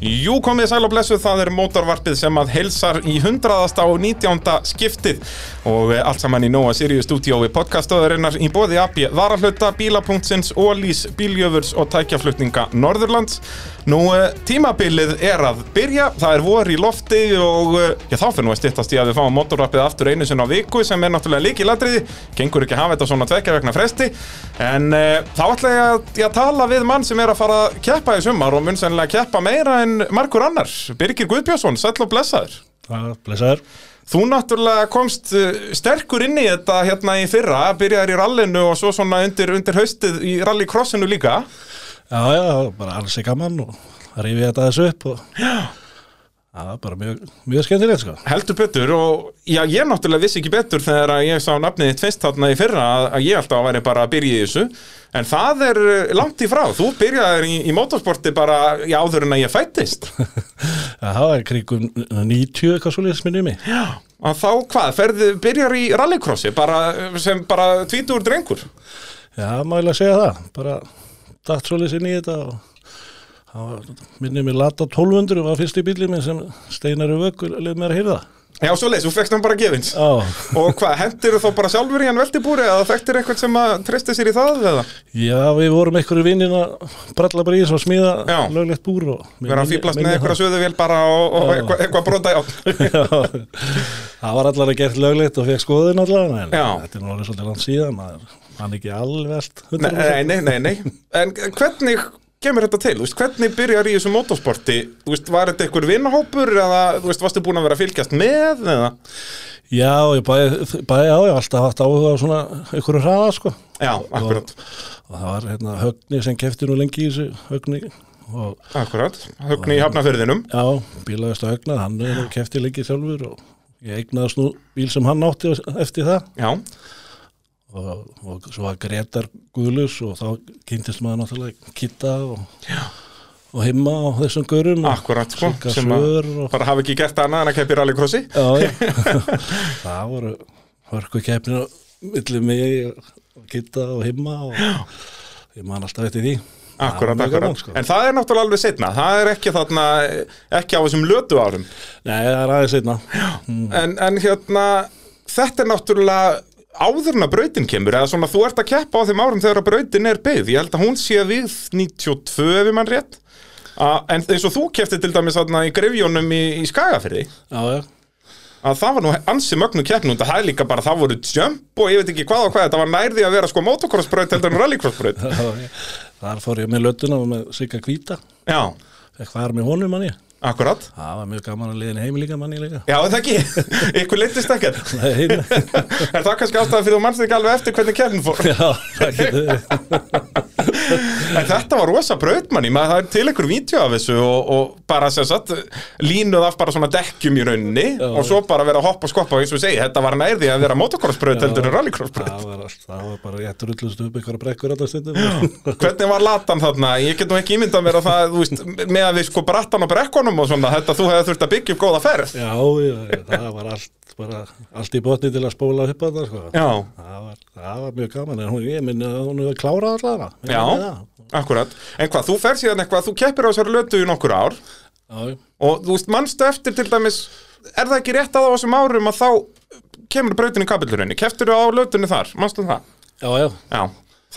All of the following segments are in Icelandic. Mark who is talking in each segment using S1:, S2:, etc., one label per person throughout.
S1: Jú, komið sæl og blessuð, það er mótorvarpið sem að heilsar í 100. og 19. skiptið og eh, allt saman í Nóa Sirius stúdíói podcastöðurinnar í bóði AB Varahluta, Bíla.sins, Ólís, Bíljöfurs og tækjaflutninga Norðurlands. Nú, eh, tímabilið er að byrja, það er vor í lofti og eh, já, þá fyrir nú að styttast í að við fáum mótorvarpið aftur einu sinna á viku sem er náttúrulega líkilatriði, gengur ekki að hafa þetta svona tvekja vegna fresti, en eh, þá ætla ég að, ég að tala við mann sem er að fara að keppa í sumar og mun sennilega keppa meira en margur annar Birgir Guðbjörnsson, sæll og blessaður
S2: Já, blessaður.
S1: Þú náttúrulega komst eh, sterkur inn í þetta hérna í fyrra, byrjaðir í rallinu og svo svona undir, undir haustið í rallycrossinu líka
S2: Já, já, það var bara alls í gaman og rífið þetta þessu upp og já. það var bara mjög, mjög skemmtilegt sko.
S1: heldur betur og já, ég náttúrulega vissi ekki betur þegar að ég sá nafnið þitt fyrst þarna í fyrra að, að ég alltaf væri bara að byrja í þessu en það er eh, langt í frá, þú byrjaðir í, í motorsporti bara eh, í áður en að ég fættist
S2: Já, það var í kringum 90 eitthvað svo liðs minni mig.
S1: Já, að þá hvað, ferði, byrjar í rallycrossi bara, eh, sem bara tvítur drengur
S2: Já, má ég að segja það. Bara datt svo liðs inn í þetta og það var, minni mig lata 1200 var fyrst í bílið minn sem steinar og vökkur leið mér að hýrða.
S1: Já, svo leis, þú fekst hann bara gefins
S2: Já,
S1: Og hvað, hendir þú þá bara sjálfur í hann veltibúri eða þekktir eitthvað sem að treysti sér í það eða?
S2: já, við vorum einhverju vinninn að bralla bara í þessu og smíða
S1: Já.
S2: löglegt búr og...
S1: Verða að fýblast með eitthvað söðuvél bara og, og eitthvað, eitthvað brota á
S2: Já, það var allavega gert löglegt og fekk skoðun allavega en
S1: Já.
S2: þetta er nú alveg svolítið langt síðan maður hann ekki alveg allt 100%.
S1: Nei, nei, nei, nei En hvernig kemur þetta til? Þú veist, hvernig byrjar í þessu motorsporti? Þú veist, var þetta einhver vinnhópur eða, þú veist, varstu búin að vera að fylgjast með eða?
S2: Já, ég bæði bæ, á, ég hef alltaf haft áhuga á svona einhverju hraða sko
S1: Já,
S2: og,
S1: akkurat,
S2: og það var hérna högni sem kefti nú lengi í þessu högni og
S1: akkurat Högni í hafnafyrðinum
S2: já, bílaðist að högna, hann er nú kefti lengi sjálfur og ég eignaðist nú bíl sem hann átti eftir það
S1: Já,
S2: og, og svo var Gretar Guðlus og þá kynntist maður náttúrulega Kitta og, og Himma og þessum görum
S1: Akkurat, sko,
S2: Sigga
S1: sem að-
S2: Svör og,
S1: bara hafa ekki gert annað en að keppi rallycrossi
S2: já, já. það voru hörku keppnir millir mig og Kitta og Himma og ég man alltaf eftir því
S1: Akkurat,
S2: Það var mjög
S1: akkurat.
S2: gaman, sko.
S1: En það er náttúrulega alveg setna, það er ekki þarna, ekki á þessum lötu árum.
S2: Nei, það er aðeins einna
S1: En, en hérna, þetta er náttúrulega áður en að brautin kemur, eða svona þú ert að keppa á þeim árum þegar að brautin er byggð. Ég held að hún sé við 92 ef ég mann rétt. A, en eins og þú kefti til dæmis þarna í grefjónum í, í Skagafyrði,
S2: Já, já
S1: að það var nú ansi mögnu keppnum, það er líka bara, það voru jump og ég veit ekki hvað og hvað, þetta var nærði að vera sko motocrossbraut heldur en rallycrossbraut.
S2: Já, já. Þar fór ég með lötuna og með Sigga Kvíta
S1: Já,
S2: Fekk var með honum manni
S1: akkurat.
S2: Það var mjög gaman að liðin heim líka manni líka
S1: Já, er það ekki, ykkur leittist ekkert.
S2: Nei, nei.
S1: Er það kannski ástæðan fyrir þú mannst ekki alveg eftir hvernig keppnin fór?
S2: Já, það getur verið
S1: En þetta var rosa brautmanni, maður það er til einhver vídeo af þessu og, og bara sem sagt línuð af bara svona dekkjum í rauninni og svo bara vera að hoppa og skoppa og eins og ég segi, þetta var nærði að vera motocrossbraut heldur en rallycrossbraut.
S2: Það var, allt, það var bara rétt rullust upp einhverja brekkur alltaf stundum.
S1: Hvernig var latan þarna? Ég get nú ekki ímyndað mér að það, þú veist, með að við sko brattan og brekkunum og svona, þetta þú hefði þurft að byggja upp góða ferð.
S2: Já, já, já, það var allt, bara, allt í botni til að spóla upp að það, sko.
S1: Já,
S2: Það var, það var mjög gaman, en hún, ég minni að hún hefur klárað allavega. Ég
S1: já,
S2: minni það.
S1: akkurat. En hvað, þú fer síðan eitthvað, þú keppir á þessari lötu í nokkur ár
S2: Já, já.
S1: og þú veist, mannstu eftir til dæmis er það ekki rétt að á þessum árum að þá kemur brautin í kapillurinn keftur þú á lötunni þar, mannstu það
S2: Já, já.
S1: já,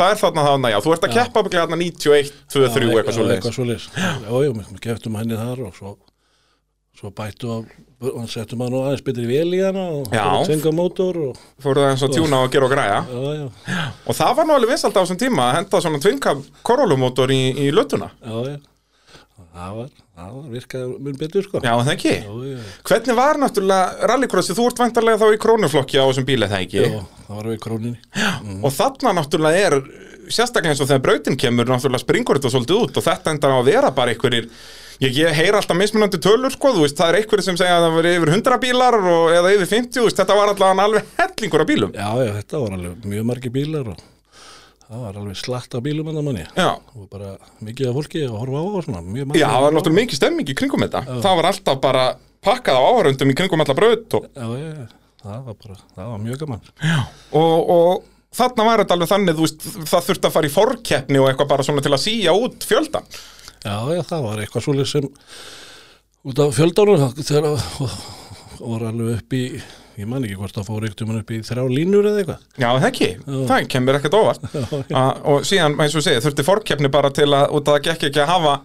S1: það er þarna þarna, já, þú ert að keppa bygglega þarna 91, 23,
S2: Já,
S1: eitthvað svo leis
S2: Eitthvað svo leis. Já, já, við geftum henni þar og svo, svo bættu og hann settum hann nú aðeins betri vel í hana og
S1: Já.
S2: tvenga mótor og,
S1: fóruð það eins og tjúna og gera og græja
S2: já, já, já,
S1: og það var nú alveg vinsalt á þessum tíma að henda svona tvinga korolumótor í, í lötuna
S2: já. Það var, það var virkaði mjög betur, sko.
S1: já, en það ekki
S2: já, já.
S1: hvernig var náttúrulega rallycrossi, þú ert vantarlega þá í krónuflokki á þessum bíl, er það ekki
S2: Já, það var við króninni.
S1: og þarna náttúrulega er sérstaklega eins og þegar brautin kemur náttúrulega springur þetta svolítið út og þetta endar á að vera bara einhverjir ég, ég heyr alltaf mismunandi tölur sko þú veist, það er einhverjir sem segja að það veri yfir 100 bílar og, eða yfir 50, þú veist, þetta var allavega alveg hellingur af bílum
S2: Já, já, þetta var alveg mjög margi bílar og það var alveg slatt af bílum en það manni
S1: Já,
S2: og bara mikið af fólki að horfa á og svona mjög margi
S1: já það var náttúrulega mikið stemming í kringum þetta það var alltaf bara pakkað á áhörundum í kringum alla braut og,
S2: Já, já, já, það var bara, það var mjög gaman
S1: og, og þarna var þetta alveg þannig þú veist, það þurfti að fara í forkeppni og eitthvað bara svona til að síja út fjöldan
S2: Já, já, það var eitthvað svolítið sem út af fjöldanum þá- þegar að- var alveg upp í ég man ekki hvort það fór yktum upp í þrjá línur eða eitthvað
S1: Já, það ekki, það kemur ekkert óvart A, og síðan, eins og segja, þurfti fórkeppni bara til að, út að það gekk ekki að hafa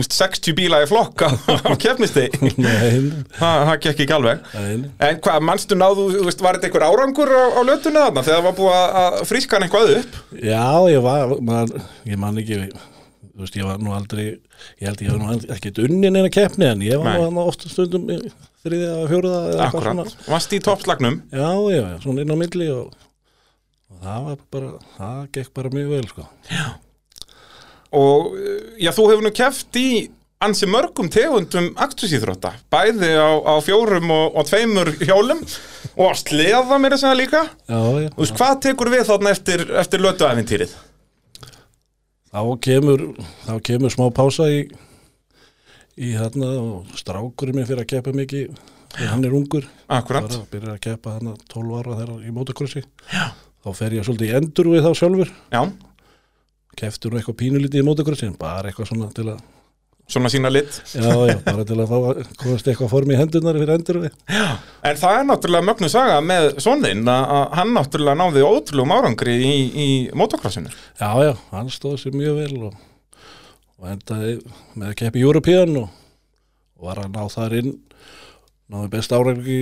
S1: úst, 60 bíla í flokka á keppnisti, það,
S2: Nei,
S1: það gekk ekki alveg
S2: nei,
S1: En hvað, mannstu náðu, þú veist, var þetta einhver árangur á, á lötunni þarna þegar það var búið að- að fríska hann eitthvað upp?
S2: Já, ég var, maður, ég man ekki, þú veist, ég var nú aldrei, ég held ég var nú aldrei, ekki unnin eina keppni en ég var
S1: Nei.
S2: nú hann ofta stundum í þriðja og fjóruða eða eitthvað
S1: Akkurat, varst í toppslagnum
S2: Já, já, já, svona inn á milli og, og það var bara, það gekk bara mjög vel, sko.
S1: og eh, já, þú hefur nú keft í ansi mörgum tegundum aktusíþrótta, bæði á, á fjórum og, og tveimur hjólum og að sleða mér að segja líka
S2: Já, já,
S1: Þú veist, hvað tekur við þarna eftir, eftir lötuæfintýrið?
S2: þá kemur, þá kemur smá pása í, í þarna og strákurinn minn fyrir að keppa mikið, hann er ungur.
S1: Akkurat,
S2: bara byrjar að keppa þarna 12 ára þegar í mótokrossi þá fer ég svolítið í endur við þá sjálfur
S1: já,
S2: keftur nú eitthvað pínulítið í mótokrossi en bara eitthvað svona til að
S1: svona sína lit
S2: já, já, bara til að fá að komast eitthvað form í hendurnar fyrir endur við
S1: En það er náttúrulega mögnu saga með sonðinn að að hann náttúrulega náði ótrúlegum árangri í, í motocrossinu
S2: já, já, hann stóð sér mjög vel og, og endaði með að keppa í European og og var að ná þar inn náði best árangi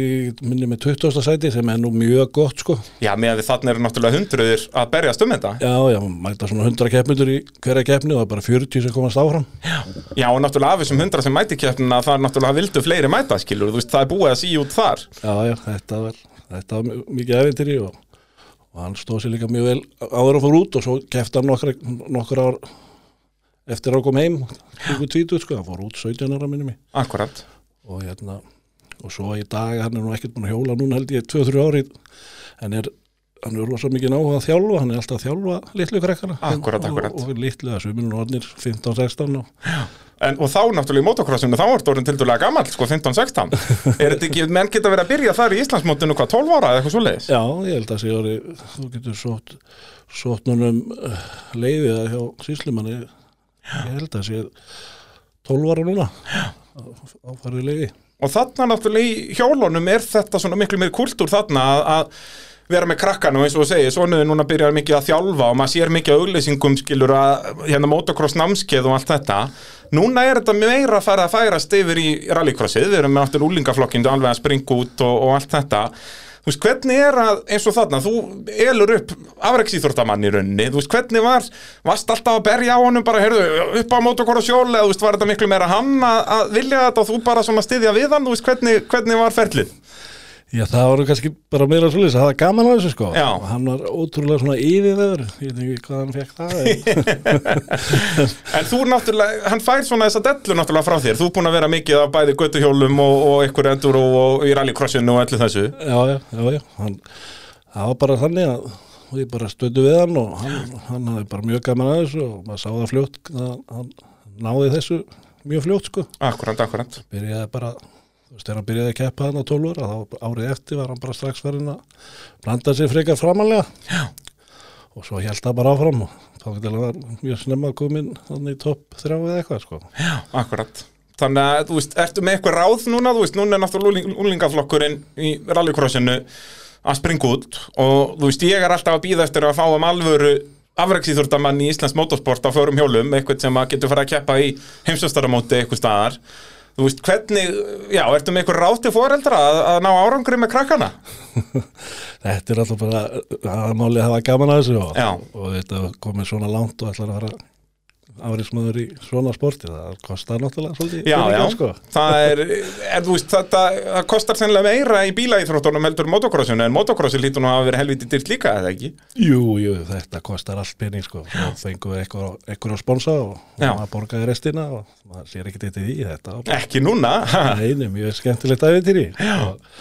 S2: minni með 20. sæti sem er nú mjög gott sko
S1: Já, með að þarna eru náttúrulega hundruðir að berjast um þetta
S2: já, já, mæta svona 100 keppmyndur í hverja keppni og það er bara 40 sem komast áfram
S1: Já, og náttúrulega af þessum hundra sem mæti keppnina það er náttúrulega vildu fleiri mæta, skilur þú veist, það er búið að síja út þar
S2: Já, já, þetta var, þetta var mjög- mikið efintyri og, og hann stóð sér líka mjög vel áður að fór út og svo kefti hann nokkra, nokkra ár eftir að hann kom heim, líku tvítuð sko, hann fór út 17 ára minni mig
S1: Akkurat
S2: og hérna, og svo í dag, hann er nú ekkert búin að hjóla núna held ég 2-3 ári en er, hann er rosa mikið náhuga að þjálfa, hann er alltaf að þjálfa litlu krekkana
S1: Akkúrat, akkúrat.
S2: og, og litlu að suminu orðnir 15-16 og
S1: En, og þá náttúrulega í motocrossinu, þá er orðin tildulega gammal, sko, 15-16. Er þetta ekki, menn geta verið að byrja þar í Íslandsmótinu hvað, 12 ára eða eitthvað svo leiðis?
S2: Já, ég held að Sigurði, þú getur sótt, sótt núnum leiðið að hjá síslumanni, ég held að sé 12 ára núna, áfarið leiði.
S1: Og þarna náttúrulega í hjólunum er þetta svona miklu meir kultúr þarna að, að vera með krakkanum eins og þú segir, svonuði núna byrjar mikið að þjálfa og maður sér mikið að auglýsingum skilur að hérna motocross námskeið og allt þetta. Núna er þetta meira að fara að færast yfir í rallycrossið, við erum með náttúrulega úlingaflokkinu alveg að springa út og, og allt þetta. Þú veist, hvernig er að, eins og þarna, þú elur upp afreksíþórtamann í rauninni, þú veist, hvernig var, varst alltaf að berja á honum bara, heyrðu, upp á mótokor og sjóli, eða, þú veist, var þetta miklu meira hann að, að vilja þetta og þú bara svona styðja við hann, þú veist, hvernig, hvernig var ferlið?
S2: Já, það var nú kannski bara meira svolítið, það var gaman að þessu sko.
S1: Já.
S2: Og Hann var ótrúlega svona yfirveður, ég veit ekki hvað hann fekk það. en-
S1: En þú náttúrulega, hann fær svona þessa dellu náttúrulega frá þér, þú er búin að vera mikið af bæði götuhjólum og, og einhverju endur og, og í rallycrossinu og öllu þessu.
S2: já, já, já, já, hann, það var bara þannig að og ég bara stötu við hann og hann, hann hafði bara mjög gaman að þessu og maður sá það fljótt, að hann náði þessu mjög fljótt sko.
S1: Akkurant, akkurant.
S2: byrjaði bara þú veist, þegar hann byrjaði að keppa hann á 12 ára þá árið eftir var hann bara strax farin að blanda sér frekar framalega Já. og svo held það bara áfram og þá getur hann var mjög snemma að komin þannig í topp þrjá eða eitthvað sko.
S1: Akkurat Þannig að, þú veist, ertu með eitthvað ráð núna, þú veist, núna er náttúrulega úlingaflokkurinn í rallycrossinu að springa út og þú veist, ég er alltaf að býða eftir að fá um alvöru afreksíþurdamann í Íslands motorsport á fórum hjólum, eitthvað sem að getur fara að keppa í heimsvastaramóti eitthvað staðar. Þú veist, hvernig, já, ertu með eitthvað ráð til foreldra að, að ná árangri með krakkana?
S2: þetta er alltaf bara aðmáli að hafa gaman að þessu
S1: Já.
S2: og, og þetta komið svona langt og ætlar að fara afriðsmaður í svona sporti það kostar náttúrulega svolítið
S1: Já,
S2: peninga,
S1: já,
S2: sko.
S1: það er, er þú veist, þetta, það kostar sennilega meira í bílaíþróttunum heldur motocrossinu, en motocrossi lítur nú að hafa verið helviti dyrt líka, eða ekki?
S2: Jú, jú, þetta kostar allt pening sko, svo fengum við eitthvað, eitthvað að sponsa og, og
S1: Já.
S2: maður borgaði restina og maður sér ekkert eitt í því, þetta var
S1: Ekki núna, ha,
S2: bara einu mjög skemmtilegt æfintýri og,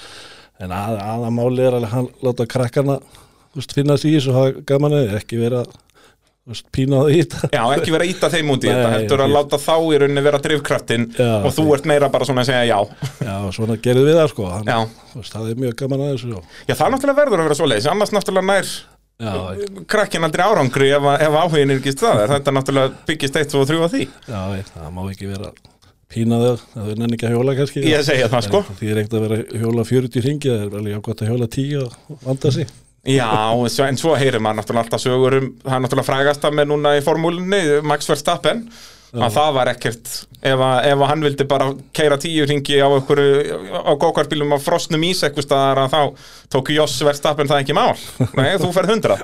S2: en að, aðamáli er alveg hann láta krakkana þú veist, finna sig í þessu og hafa gaman eða ekki vera þú veist, pína það í þetta
S1: Já, ekki vera að íta þeim út í
S2: Nei,
S1: þetta, heldur að
S2: ég-
S1: láta þá í rauninni vera drifkraftin
S2: Já,
S1: og þú ert meira bara svona að segja já.
S2: Já, og svona gerðum við það sko, hann,
S1: Já.
S2: þú veist, það er mjög gaman að þessu og,
S1: Já, það náttúrulega verður að vera svoleiðis, annars náttúrulega nær
S2: já,
S1: krakkin aldrei árangri ef, að- ef áhugin er ekki staðar, þetta náttúrulega byggist eitt og þrjú á því.
S2: Já, ég- það má ekki vera pína þau, það er nenni ekki að hjóla kannski
S1: Ég segja það, sko.
S2: Því er ekkert að vera að hjóla 40 ringi, það er vel jákvæmt að hjóla 10 og vanda sig
S1: Já, svo- en svo heyrir maður náttúrulega alltaf sögur um, það er náttúrulega frægasta með núna í formúlinni, Max Verstappen að það var ekkert ef, að, ef að hann vildi bara keira tíu ringi á einhverju, á gókvartbílum á frosnum ís eitthvað staðar að þá tók Joss Verstappen það ekki mál Nei, þú ferð hundra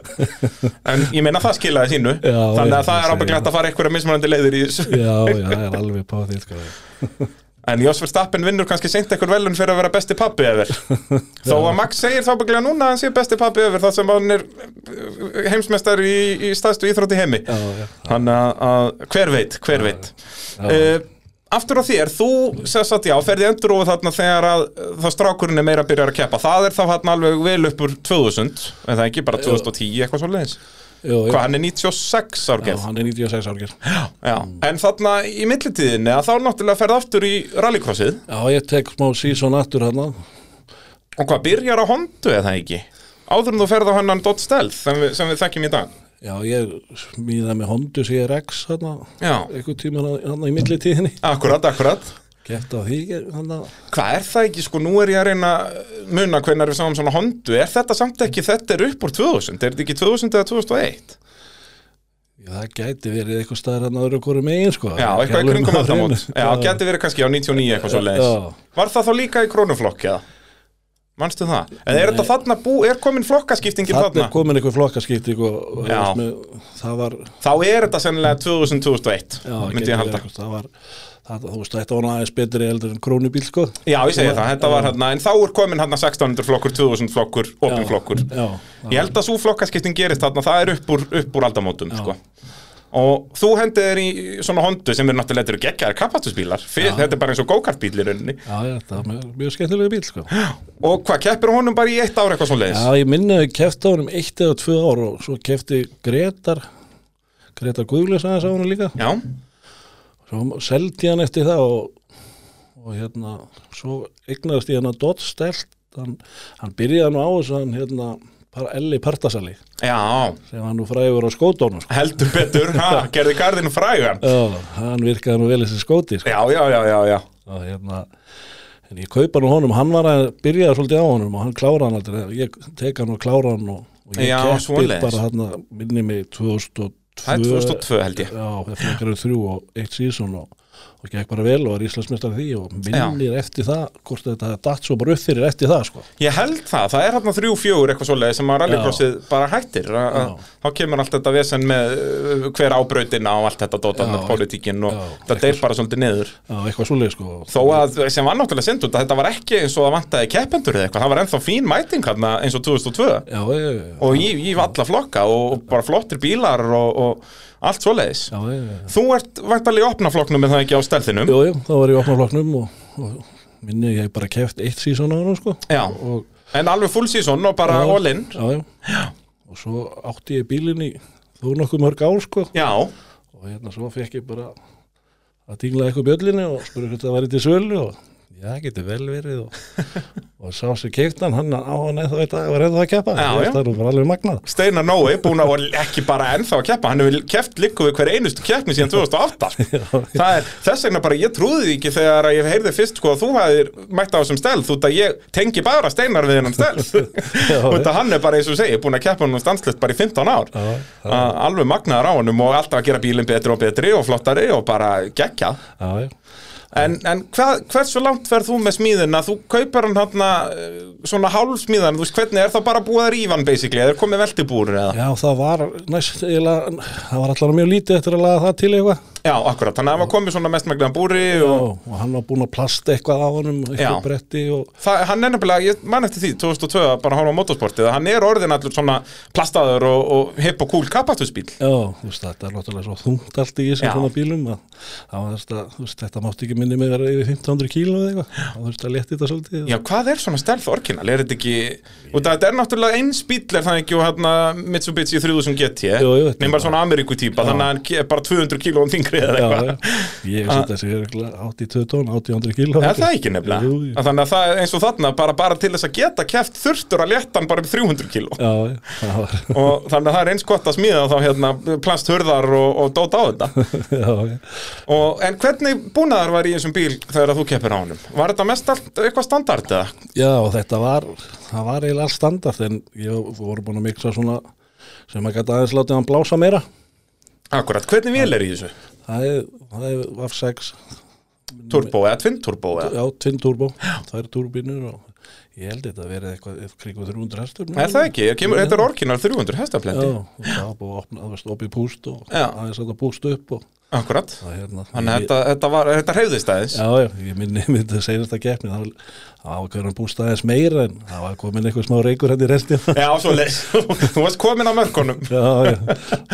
S1: En ég meina það skilaði sínu
S2: Já,
S1: Þannig
S2: já,
S1: að það er
S2: ég segi
S1: ábygglega hægt að fara einhverja mismunandi leiðir í þessu
S2: Já, já, það er alveg pá því, sko
S1: En Joss Verstappen vinnur kannski seint eitthvað velun fyrir að vera besti pappi yfir Þó að Max segir þá bygglega núna að hann sé besti pappi yfir þar sem hann er heimsmeistar í, í staðstu íþrótti heimi
S2: Já, já,
S1: Þannig að- að hver veit, hver veit
S2: já,
S1: uh, Aftur á þér, þú sess að já, ferði endur ofið þarna þegar að þá strákurinn er meira að byrja að keppa Það er þá hann alveg vel uppur 2000 En það er ekki bara 2010 eitthvað svo leiðis
S2: já, já,
S1: Hvað hann er 96
S2: já,
S1: árgeð
S2: hann er 96 árgir
S1: Já, en þarna í millitíðinni að þá náttúrulega ferði aftur í rallycrossið
S2: Já, ég tek smá season aftur hann
S1: Og hvað byrjar á Hondu eða ekki? Áður en þú ferð á hennan Dodge Stealth sem við, sem við þekkjum í dag
S2: Já, ég smíða með Honda CRX hann
S1: Já,
S2: einhvern tíma hann í millitíðinni
S1: akkurat, akkurat
S2: Gett á því, hann að
S1: Hvað er það ekki, sko, nú er ég að reyna að muna hvenar við sáum svona Hondu Er þetta samt ekki, þetta er upp úr 2000, er þetta ekki 2000 eða 2001?
S2: Já, það gæti verið eitthvað staðar hann öðru hverju megin, sko
S1: Já, eitthvað
S2: Ekki
S1: í
S2: alveg
S1: kringum
S2: náður
S1: aldamót
S2: hreinu.
S1: Já, geti verið kannski á 99 eitthvað svo
S2: Já.
S1: leiðis Var það þá líka í krónuflokk, eða? Manstu það? En er þetta þarna bú, er komin flokkaskiptingin
S2: Þarna er
S1: þarna?
S2: komin eitthvað flokkaskipti og,
S1: Já.
S2: það var
S1: Þá er þetta sennilega 2000-2001,
S2: já,
S1: myndi
S2: gæti
S1: ég halda
S2: verið eitthvað, það var, það, þú veist, þetta var nú aðeins betri eldur en krónubíl sko
S1: Já, ég segi það, þetta var hérna, en þá er komin hérna 1600 flokkur, 2000 flokkur, opin flokkur.
S2: já,
S1: Ég held að svo flokkaskipting gerist þarna, það er upp úr, upp úr aldamótum, sko. Og þú hendið þér í svona hondu sem er náttúrulega þetta eru geggjaðar kapastusbílar, þetta er bara eins og go-kart-bíl í rauninni.
S2: já, já, það var mjög, mjög skemmtilega bíl sko já,
S1: Og hvað, keppir á honum bara í eitt ár eitthvað svo leiðis?
S2: ég minni að ég kefti á honum eitt eða tvö ár og svo kefti Gretar Gretar Guðlis aðeins á honum líka
S1: Já.
S2: svo seldi ég hann eftir það og, og hérna svo eignaðist ég hann að Dodds stelt hann, hann byrjaði nú á þessu hann hérna par, Elli Partasali
S1: Já,
S2: sem hann nú frægur á skótónum sko.
S1: heldur betur, ha, gerði gardinu frægan.
S2: Já, hann virkaði nú vel í þessi skóti sko.
S1: Já, já, já, já, já.
S2: og hérna en ég kaupa nú honum, hann var að byrjaði svolítið á honum og hann klára hann aldrei ég tek hann og klára hann og, og ég
S1: Já,
S2: keppi
S1: svoleiðis.
S2: bara hann minni mig 2002
S1: Það er 2002 held ég.
S2: já, það frekar eru þrjú og eitt síðan og, og gekk bara vel og er Íslandsmeistar því og minnir eftir það hvort þetta hafi datt svo bara upp fyrir eftir það sko.
S1: Ég held það, það er hérna þrjú, fjögur eitthvað svoleiði sem að rallycrossið bara hættir a, a, þá kemur allt þetta vesen með uh, hver ábrautina og allt þetta dótan
S2: Já,
S1: með pólitíkin og
S2: já,
S1: þetta deyr bara svolítið niður
S2: já, eitthvað svoleið sko.
S1: þó að sem var náttúrulega synd út að þetta var ekki eins og það vantaði keppendur eða eitthvað, það var ennþá fín mæting hérna eins og 2002
S2: já, já, já, já,
S1: og ég, ég var alla flokka og, og bara flottir bílar og, og allt svoleiðis
S2: já, já, já.
S1: Þú ert vantalega í opnaflokknum en það ekki á stelðinum
S2: Jú, jú, þá var ég opnað flokknum og, og minni ég bara keft eitt síðan á hann sko.
S1: Já,
S2: og
S1: en alveg full season og bara all in
S2: já, já. og svo átti ég bílinn í þó nokkuð mörg ár sko
S1: Já,
S2: og hérna svo fekk ég bara að dingla eitthvað bjöllinni og spurði hvort það væri til sölu og já, getur vel verið og, og sá sér keiftan, hann á hann eða þetta var eða að keppa,
S1: Já, já.
S2: það er nú bara alveg magnað
S1: Steinar Nói búin að og ekki bara ennþá að keppa hann hefur keppt líku við hver einustu keppni síðan 2008 Það er, þess vegna bara ég trúði því ekki þegar að ég heyrði fyrst sko að þú hefðir mætt á þessum stelð út að ég tengi bara Steinar við hennan stelð út að hann er bara eins og segi búin að keppa hann um stanslust bara í 15 ár
S2: Já,
S1: Að alveg magnaðar á honum og alltaf að gera bílinn betri og betri og flottari og bara geggjað
S2: já, já,
S1: En, en hvað, hversu langt verð þú með smíðina? Þú kaupar hann hann svona hálfsmíðan, þú veist hvernig er það bara búið að rífa hann basically, eða er komið veltibúr eða?
S2: já, það var næst, eiginlega, það var allavega mjög lítið eftir að laga það til eitthvað
S1: Já, akkurat, þannig að það var komið svona mest megnan búri og
S2: og, og hann var búin að plasta eitthvað á honum,
S1: Já.
S2: eitthvað bretti og
S1: það, hann er nefnilega, ég man eftir því 2002 að bara horfa á motorsportið, að hann er orðin allur svona plastaður og, og hipp og kúl kapastusbíl.
S2: Já, þú veist, þetta er náttúrulega svo þungt allt í þessum
S1: Já.
S2: svona bílum að, að, að, að, veist, þetta mátti ekki minni með vera yfir 1500 kíló eða eitthvað, þá þú veist að leti þetta svolítið
S1: Já, hvað er svona stelð orginal? Er þetta ekki, út að þetta er náttúrulega eins bíl er það ekki og hann Mitsubishi 3000 GT,
S2: Jú, jú, þetta er
S1: nema bara svona Ameríku
S2: Já.
S1: þannig að hann er bara 200 kílóum þingri. kílómetri eða
S2: Já,
S1: eitthvað Ah.
S2: ég sé þessi örgulega 82 tón, 800 kíló
S1: Er það ekki nefnilega?
S2: Jú, jú.
S1: Að Þannig að það er eins og þarna bara, bara til þess að geta keft þurftur að létta hann bara um 300 kíló
S2: Já, já, það var
S1: og þannig að það er eins gott að smíða þá hérna plasthurðar og, og dóta á þetta
S2: já, já.
S1: og, En hvernig búnaðar var í þessum bíl þegar að þú keppir á honum? Var þetta mest allt eitthvað standard eða?
S2: já, og þetta var það var eiginlega alls standart en ég voru búin að miksa svona sem að geta aðeins látið hann blása meira
S1: Akkurat, hvernig vél er í þessu?
S2: það er, það er F6
S1: Turbo eða tvinnturbo eða?
S2: já, tvinn turbo, það eru turbínur og ég held þetta að vera eitthvað kringum 300 hestur
S1: Er það ekki? Ég Kemur, þetta er orginal 300
S2: Já,
S1: hestaflendi
S2: og það var búið að opna, það varst opið púst og
S1: Já.
S2: aðeins að það púst upp og
S1: Akkurat
S2: það hérna
S1: Þannig að
S2: ég-
S1: þetta, þetta, var, þetta hreyfðist aðeins
S2: Já, já, ég minni mitt að segja þetta keppni það var- það var hverjum búst aðeins meira en það var komin eitthvað smá reykur hérna í restina
S1: Já, svo leys Þú varst komin á mörkunum
S2: Já, já,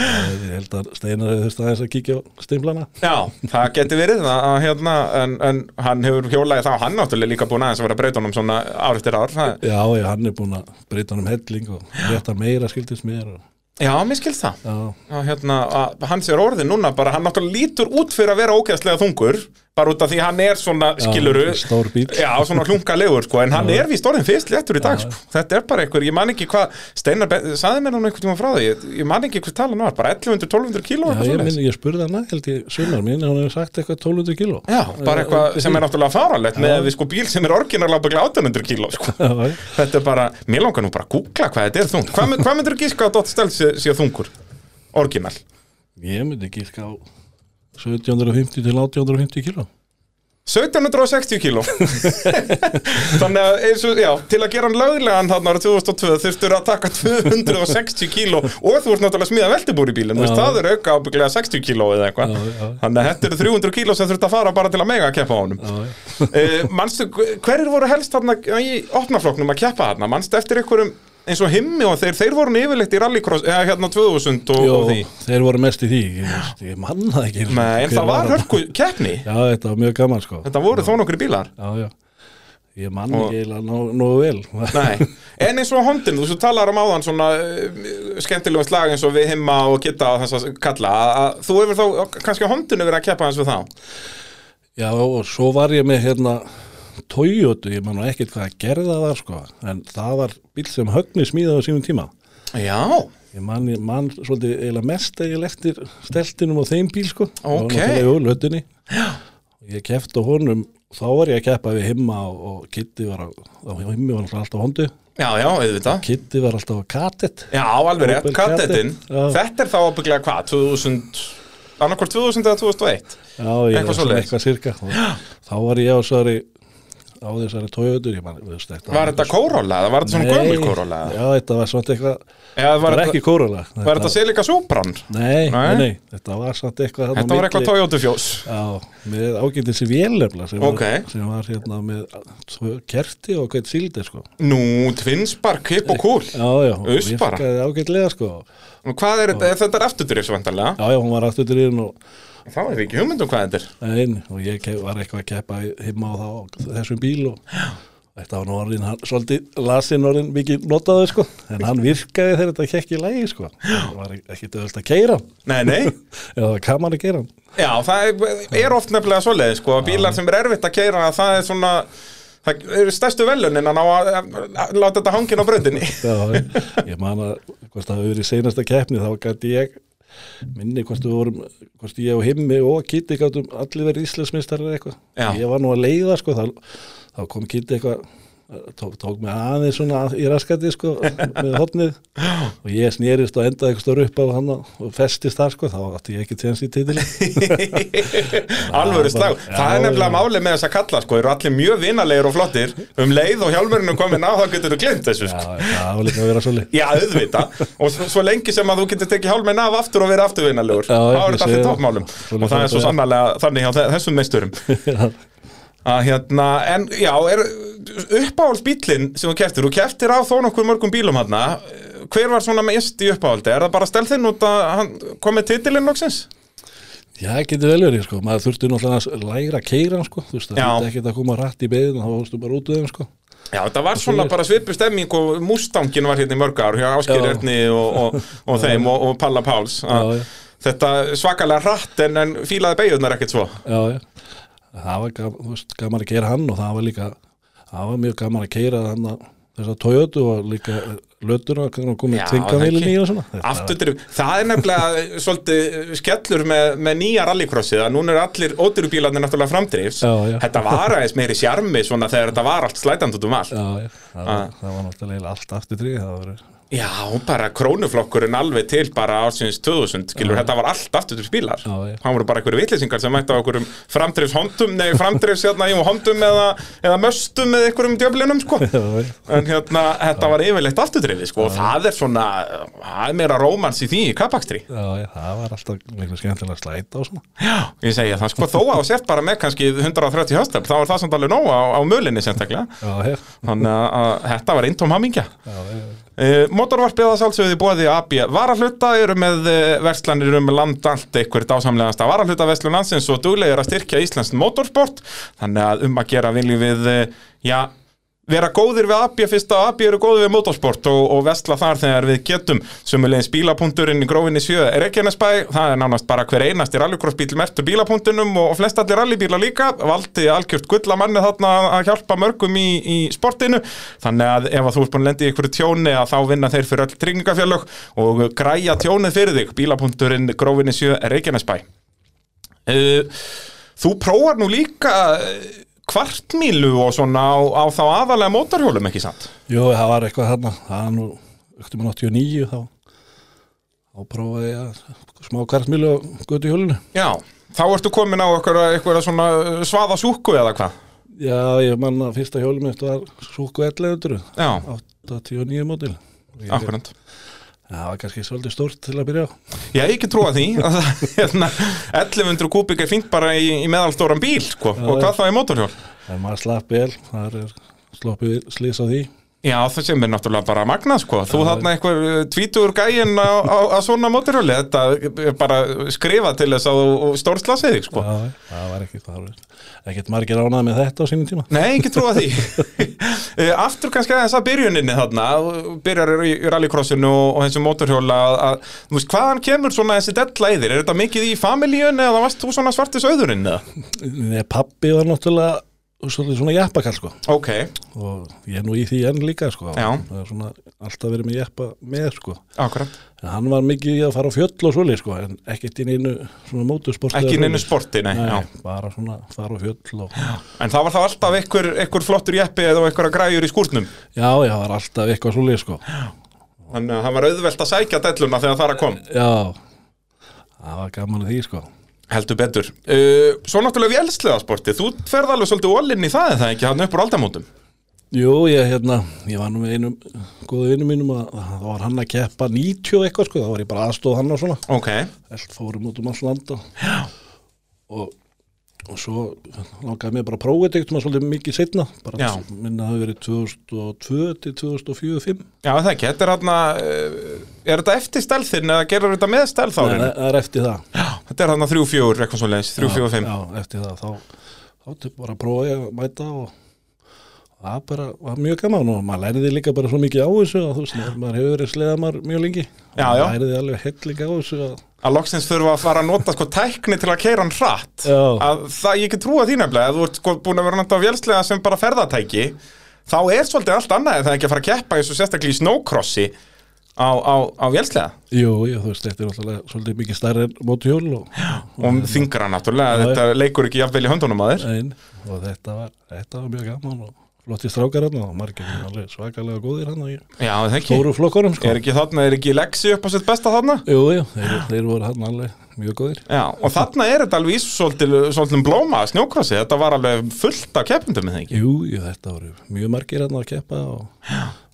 S2: ég held að Steinar hefði þurft aðeins að kíkja á stimlana
S1: Já, það geti verið að, að hérna, en, en hann hefur hjólaði þá, hann náttúrulega líka búin aðeins að vera að breyta honum svona ár eftir ár. Það,
S2: Já, já, hann er búin að breyta hann um helling og rétta meira skildist mér og,
S1: já, mér skilst það.
S2: Já,
S1: Að, hérna, að, hans er orðin núna bara, hann náttúrulega lítur út fyrir að vera ógeðslega þungur, bara út af því hann er svona skiluru.
S2: stór bíl.
S1: Já, svona hlunkalegur, sko, en hann er víst orðin fyrst léttur í dag, sko. Þetta er bara einhver, ég man ekki hvað, Steinar, Ben- sagði mér hann einhvern tíma frá því, ég, ég man ekki hvað talan var, bara 1100-1200 kíló,
S2: já
S1: eitthvað
S2: ég,
S1: svoleiðis.
S2: minni, ég spurði hann að held ég sunnar mín hann hefði sagt eitthvað 1200 kíló
S1: Já, bara eitthvað sem er náttúrulega fáralegt með að við sko bíl sem er orginarlega byggla 800 kíló sko.
S2: Já, já.
S1: Þetta er bara, mér langar nú bara að googla hvað þetta er þungt Hvað, mynd- hvað myndir þú gíska að Dott Stelz sé, sé þungur? Orginal
S2: Ég myndi gíska á 1750 til 1850 kíló
S1: 1760 kíló Þannig að eins og, já, til að gera hann löglegan þarna ára 2002 þurftur að taka 260 kíló og þú ert náttúrulega smíða veltibúr í bílinn, þú veist,
S2: Já.
S1: það er auka ábygglega 60 kíló eða eitthvað
S2: Já, já.
S1: Þannig að þetta eru 300 kíló sem þurft að fara bara til að mega að keppa á honum
S2: Já, já
S1: uh, manstu, hverjir voru helst þarna í opnafloknum að keppa þarna manstu eftir einhverjum eins og himmi og þeir, þeir voru yfirleitt í rallycross eða hérna 2000 og,
S2: Jó,
S1: og því
S2: þeir voru mest í því ég, veist, ég manna það ekki
S1: Nei, en
S2: Hver
S1: það var
S2: þarna?
S1: hörku keppni
S2: Já, þetta var mjög gaman sko
S1: þetta voru þó nokkri bílar
S2: Já, já Ég man
S1: Og-
S2: ekki eiginlega nógu nógu vel
S1: Nei, en eins og hóndin, þú svo talar um áðan svona uh, skemmtilegum slag eins og við himma og kitta og þess að kalla að, að þú hefur þá, kannski hóndinu verið að keppa eins við þá
S2: Já, og svo var ég með hérna Toyota, ég man nú ekkert hvað að gerða það var sko En það var bíl sem högni smíðaði á sínum tíma
S1: Já,
S2: Ég man, ég man svolítið eiginlega mest eiginlega eftir steltinum og þeim bíl sko Það var
S1: Ókei.
S2: náttúrulega í lötunni Ég kefti á honum, þá var ég að keppa við himma og, og Kitty var á, á himmi var náttúrulega alltaf á hondu
S1: já, já, auðvitað
S2: Kitty var alltaf á katet
S1: Já, alveg rétt,
S2: Opel
S1: kattetinn
S2: Kadett, já.
S1: Þetta er þá ábygglega hvað, 2000 annarkvort 2000 eða 2001
S2: Já, ég
S1: Eitthvað
S2: var svona
S1: svoleiðis.
S2: eitthvað sirka og þá var ég á þessari á þessari tójöður ég man, veist, þetta
S1: Var þetta Corolla eða var þetta svona gömul Corolla?
S2: Já, þetta var svona eitthvað
S1: Eða
S2: það
S1: var
S2: var
S1: þetta,
S2: ekki Corolla
S1: var þetta Selica Supran?
S2: nei,
S1: Nei.
S2: nei, nei, þetta var svona eitthvað þarna á
S1: Þetta var eitthvað
S2: milli-
S1: Toyota fjós
S2: Já, með ágætið sér vélnefla sem,
S1: Ókei.
S2: var, sem var hérna með tvö kerti og hvert síldi sko
S1: Nú, tvinnspark, hipp og kúl
S2: Já, já, hún
S1: Uss bara.
S2: virkaði ágætlega sko
S1: Og Hvað er þetta? Þetta er afturdrifs vantarlega
S2: Já, já, hún var aftur til yfirn og
S1: Þá hefur ekki hugmynd um hvað þetta er
S2: Nein, og ég ke- var eitthvað að keppa í- heima á þá á þessum bíl og þetta var nú orðin, hann, svolítið lasinn orðin mikið notaði sko, en hann virkaði þegar þetta kekk í lægi sko, það var ekki döðast að keira hann,
S1: Nei, nei,
S2: eða það var kaman að keira hann.
S1: já, það er- er oft nefnilega svoleið sko, að bílar sem er erfitt að keira það er svona, það eru stærstu velunin að ná að að láta þetta hangin á brautinni
S2: Já, ég man að hvort það hafi verið í seinasta keppni, þá gæti ég minni hvort við vorum, hvort ég og himmi og Kitty gáttum allir verið íslensmistarar eitthvað.
S1: Já.
S2: Ég var nú að leiða sko, þá, þá kom Kitty eitthvað, tók, tók mig aðeins svona að- í raskati sko, með hotnið og ég snerist og endaði eitthvað stór upp á hann og festist þar sko, þá átti ég ekki tjens í titili.
S1: Alvöru slag,
S2: Já,
S1: það er nefnilega
S2: já.
S1: málið með þess að kalla sko, eru allir mjög vinalegir og flottir um leið og hjálmurinn er komin á þá getur þú glemt þessu
S2: Já,
S1: sko.
S2: það var líka að vera svolítið.
S1: Já, auðvita og svo, svo lengi sem að þú getur tekið hálminn af aftur og verið afturvinnalegur
S2: Já,
S1: þá
S2: ég
S1: er þetta
S2: segi
S1: allir
S2: það.
S1: toppmálum
S2: Svona
S1: og það er
S2: þetta
S1: svo
S2: er.
S1: sannlega þannig hjá þe- þessum meisturum að hérna, en já, er uppáhaldsbílinn sem þú keftir þú keftir á þó nokkuð mörgum bílum hérna hver var svona mest í uppáhaldi? Er það bara stelðinn út að hann kom með titilinn loksins?
S2: Já, það getur vel verið, sko. Maður þurfti náttúrulega að læra að keira, sko. Þú veist, það
S1: Já.
S2: þurfti ekkert að koma rætt í beðin og þá fórstu bara út við þeim, sko.
S1: Já, þetta var svona
S2: er-
S1: bara svipu stemming og Mustangin var hérna í mörg ár hjá Áskir
S2: Já.
S1: Erni og, og, og þeim og, og Palla Páls
S2: Já,
S1: að
S2: já.
S1: þetta svakalega hratt en, en fílaði beigurnar ekkert svo
S2: já, já. það var gaman, þú veist, gaman að keira hann og það var líka, það var mjög gaman að keira hann að þess að Toyota og líka lötuna og komið
S1: Já,
S2: tvingavílinni
S1: það
S2: í
S1: ekki.
S2: og svona Þetta var-
S1: Afturdrif, það er nefnilega eh, svolítið skellur með, með nýja rallycrossið að núna eru allir ódýru bílarnir náttúrulega framdrifs
S2: Já, já.
S1: þetta var aðeins meiri sjarmi svona þegar þetta var allt slætandi út um allt
S2: Já, já, það, var, það var náttúrulega allt aftur trí það var,
S1: Já, bara krónuflokkurinn alveg til bara ársins 2000, skilur, þetta var allt aftur til spilar.
S2: Já, já.
S1: Það voru bara einhverju vitlýsingar sem mætti á einhverjum framdreifs hondum, nei, framdreifs hérna í hondum eða, eða möstum með einhverjum djöflinum, sko.
S2: Já, já.
S1: En hérna, þetta var yfirleitt afturdreifið, sko, og það er svona, það er meira rómans í því í kapakstri.
S2: já, já, það var alltaf miklu skemmtilega slæta og svona
S1: Já, ég segja það, sko, þó að þú sért bara með kannski 130 höstöfl, þá er það samt alveg nóg á, á mölinni, sérstaklega.
S2: Já, já,
S1: Þannig að, að þetta var eintóm hamingja.
S2: já, já, já.
S1: Uh, Motorvarpið að sálsögðu bóði AB varahluta eru með uh, verslanir um land allt einhver dásamlegasta varahluta verslun landsins og duglegir að styrkja Íslands motorsport þannig að um að gera viljum við uh, já, vera góðir við AB fyrst að AB eru góðir við motorsport og, og versla þar þegar við getum sumulegins bílapunkturinn í grófinni sjö er ekki hennarsbæ, það er nánast bara hver einasti rallycrossbíl mertur bílapunktunum og, og flest allir rallybíla líka, valdi algjört gullamanni þarna að hjálpa mörgum í, í sportinu, þannig að ef að þú ert búin að lenda í einhverju tjóni að þá vinna þeir fyrir öll tryggingafjörlög og græja tjónið fyrir þig, bílapunkturinn grófinni sjö Reykjanesbæ uh, Þú prófar nú líka eh, kvartmílu og svona á, á þá aðalega mótarhjólum ekki sant?
S2: Jú, það var eitthvað þarna, það er nú auktum 89 þá þá prófaði ég að smá kartmílu á götu hjólinu
S1: Já, þá ertu komin á einhverja, einhverja svona eh, svaða súku eða hvað
S2: Já, ég man að fyrsta hjólum mitt var Súku 1100
S1: Já,
S2: 89 mótil Já,
S1: akkurant
S2: það var kannski svolítið stórt til að byrja á
S1: Já, ég ekki trúa því að það- hérna, 1100 kúbik er fínt bara í, í meðalstóran bíl sko, og
S2: já.
S1: hvað þá í mótorhjól?
S2: en maður slapp vel, þar er sloppið slís á því
S1: Já, það sem er náttúrulega bara magnað sko Þú þarna einhver uh, tvítugur gæinn á, á, á svona mótirhjóli Þetta er bara skrifa til þess að þú stórslasið þig sko
S2: Já, það var ekki það var ekkert margir ánað með þetta á sínum tíma
S1: Nei, ekki trúa því Eh, Aftur kannski aðeins að byrjuninni þarna þú Byrjar í í rallycrossinu og, og þessum mótorhjóla að, að, Þú veist, hvaðan kemur svona þessi della í þér? Er þetta mikið í familíun eða varst þú svona svartis auðurinn? eða?
S2: Nei, pappi var náttúrulega svolítið svona jeppakall sko
S1: Ok,
S2: og ég er nú í því enn líka sko
S1: Já.
S2: það er svona alltaf verið með jeppa með sko
S1: akkurat
S2: en hann var mikið í að fara á fjöll og svoleið sko en ekkert í neinu svona mótusport
S1: Ekki neinu sporti, nei,
S2: Nei,
S1: já
S2: bara svona fara á fjöll og
S1: En það var þá alltaf einhver, einhver flottur jeppi eða einhverja græjur í skúrnum
S2: já, já, það var alltaf eitthvað svoleið sko
S1: Þannig að það var auðvelt að sækja delluna þegar þar að kom
S2: Já, það var gaman að því sko
S1: Heldur betur. Uh, svo náttúrulega vélsleðasporti, þú ferð alveg svolítið ólinn í það en það ekki hann upp úr aldamótum.
S2: Jú, ég, hérna, ég var nú með einum góðu vinnum mínum að það var hann að keppa 90 og eitthvað sko, þá var ég bara aðstóð hann og svona
S1: Ok,
S2: Allt fórum út um alls landa Já Og, og svo langaði mig bara að prófa þetta eitthvað svolítið mikið setna bara
S1: Já.
S2: minna það hafi verið 2002 til 2004-05
S1: já það ekki, þetta er hann að, er þetta eftir stelðin eða gerur þetta með
S2: það
S1: stelðárinu?
S2: það er eftir það
S1: Þetta er hann að 3-4, eitthvað svo leins, 3-4-5.
S2: Já, já, eftir það, þá, þá til bara prófaði ég að mæta og og það bara var mjög gaman og maður læriði líka bara svo mikið á þessu og þú veist, maður- maður hefur verið sleðamar mjög lengi
S1: Já,
S2: Maður
S1: já.
S2: læriði alveg hellinga á þessu og,
S1: Að loksins þurfa að fara að nota sko tækni til að keira hann hratt.
S2: Já.
S1: Að það, ég ekki trúa því nefnilega, að þú ert sko búin að vera náttúrulega vélsleða sem bara ferðatæki, þá er svolítið allt annað en það er ekki að fara að keppa eins og sérstaklega í snowcrossi á, á, á vélsleða.
S2: jú, jú, þú veist, þetta er alltaf svolítið mikið stærri en móti hjól og,
S1: og þingra náttúrulega,
S2: Já,
S1: þetta leikur ekki jafnvel í höndunum að þér
S2: ein, og þetta, var, þetta var mjög gaman og flotti strákar hann og margir alveg svakalega góðir hann og ég
S1: Já, það ekki
S2: stóru flokkurum sko.
S1: Er ekki þarna, er ekki Lexi upp á sitt besta þarna?
S2: Jú, jú, þeir, þeir voru hann alveg mjög góðir
S1: Já, og þarna er þetta alveg í svolítið, svolítið um blóma, snjókrossi, þetta var alveg fullt af keppendum með það ekki
S2: Jú, jú, þetta voru mjög margir hann að keppa og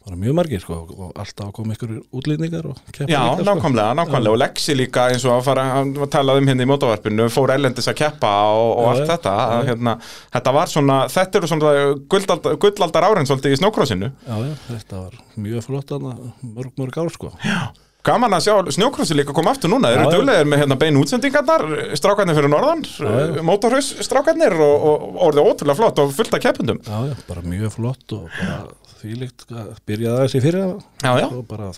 S2: bara mjög margir sko og alltaf kom ykkur útlýningar og keppa
S1: Já,
S2: líka, sko.
S1: nákvæmlega, nákvæmlega, og Lexi líka eins og að fara, hann var talað um hérna í mótavarpinu fór ellendis að keppa og, og
S2: Já,
S1: allt
S2: já,
S1: þetta að, hérna, þetta var svona, þetta eru svona gullaldar, gullaldar árin svolítið í snjókrossinu
S2: Já, já, þetta var mjög flott hann mörg, mörg ár sko
S1: Gaman að sjá snjókrossi líka koma aftur núna, þeir eru
S2: Já, já.
S1: duglegir með hérna beinu útsendingarnar, strákarnir fyrir norðan, eh,
S2: já.
S1: mótorhaus strákarnir og, og orðið ótrúlega flott og fullt af keppundum.
S2: Já, já, bara mjög flott og bara því líkt byrjaði aðeins í fyrir
S1: Já, já.
S2: og bara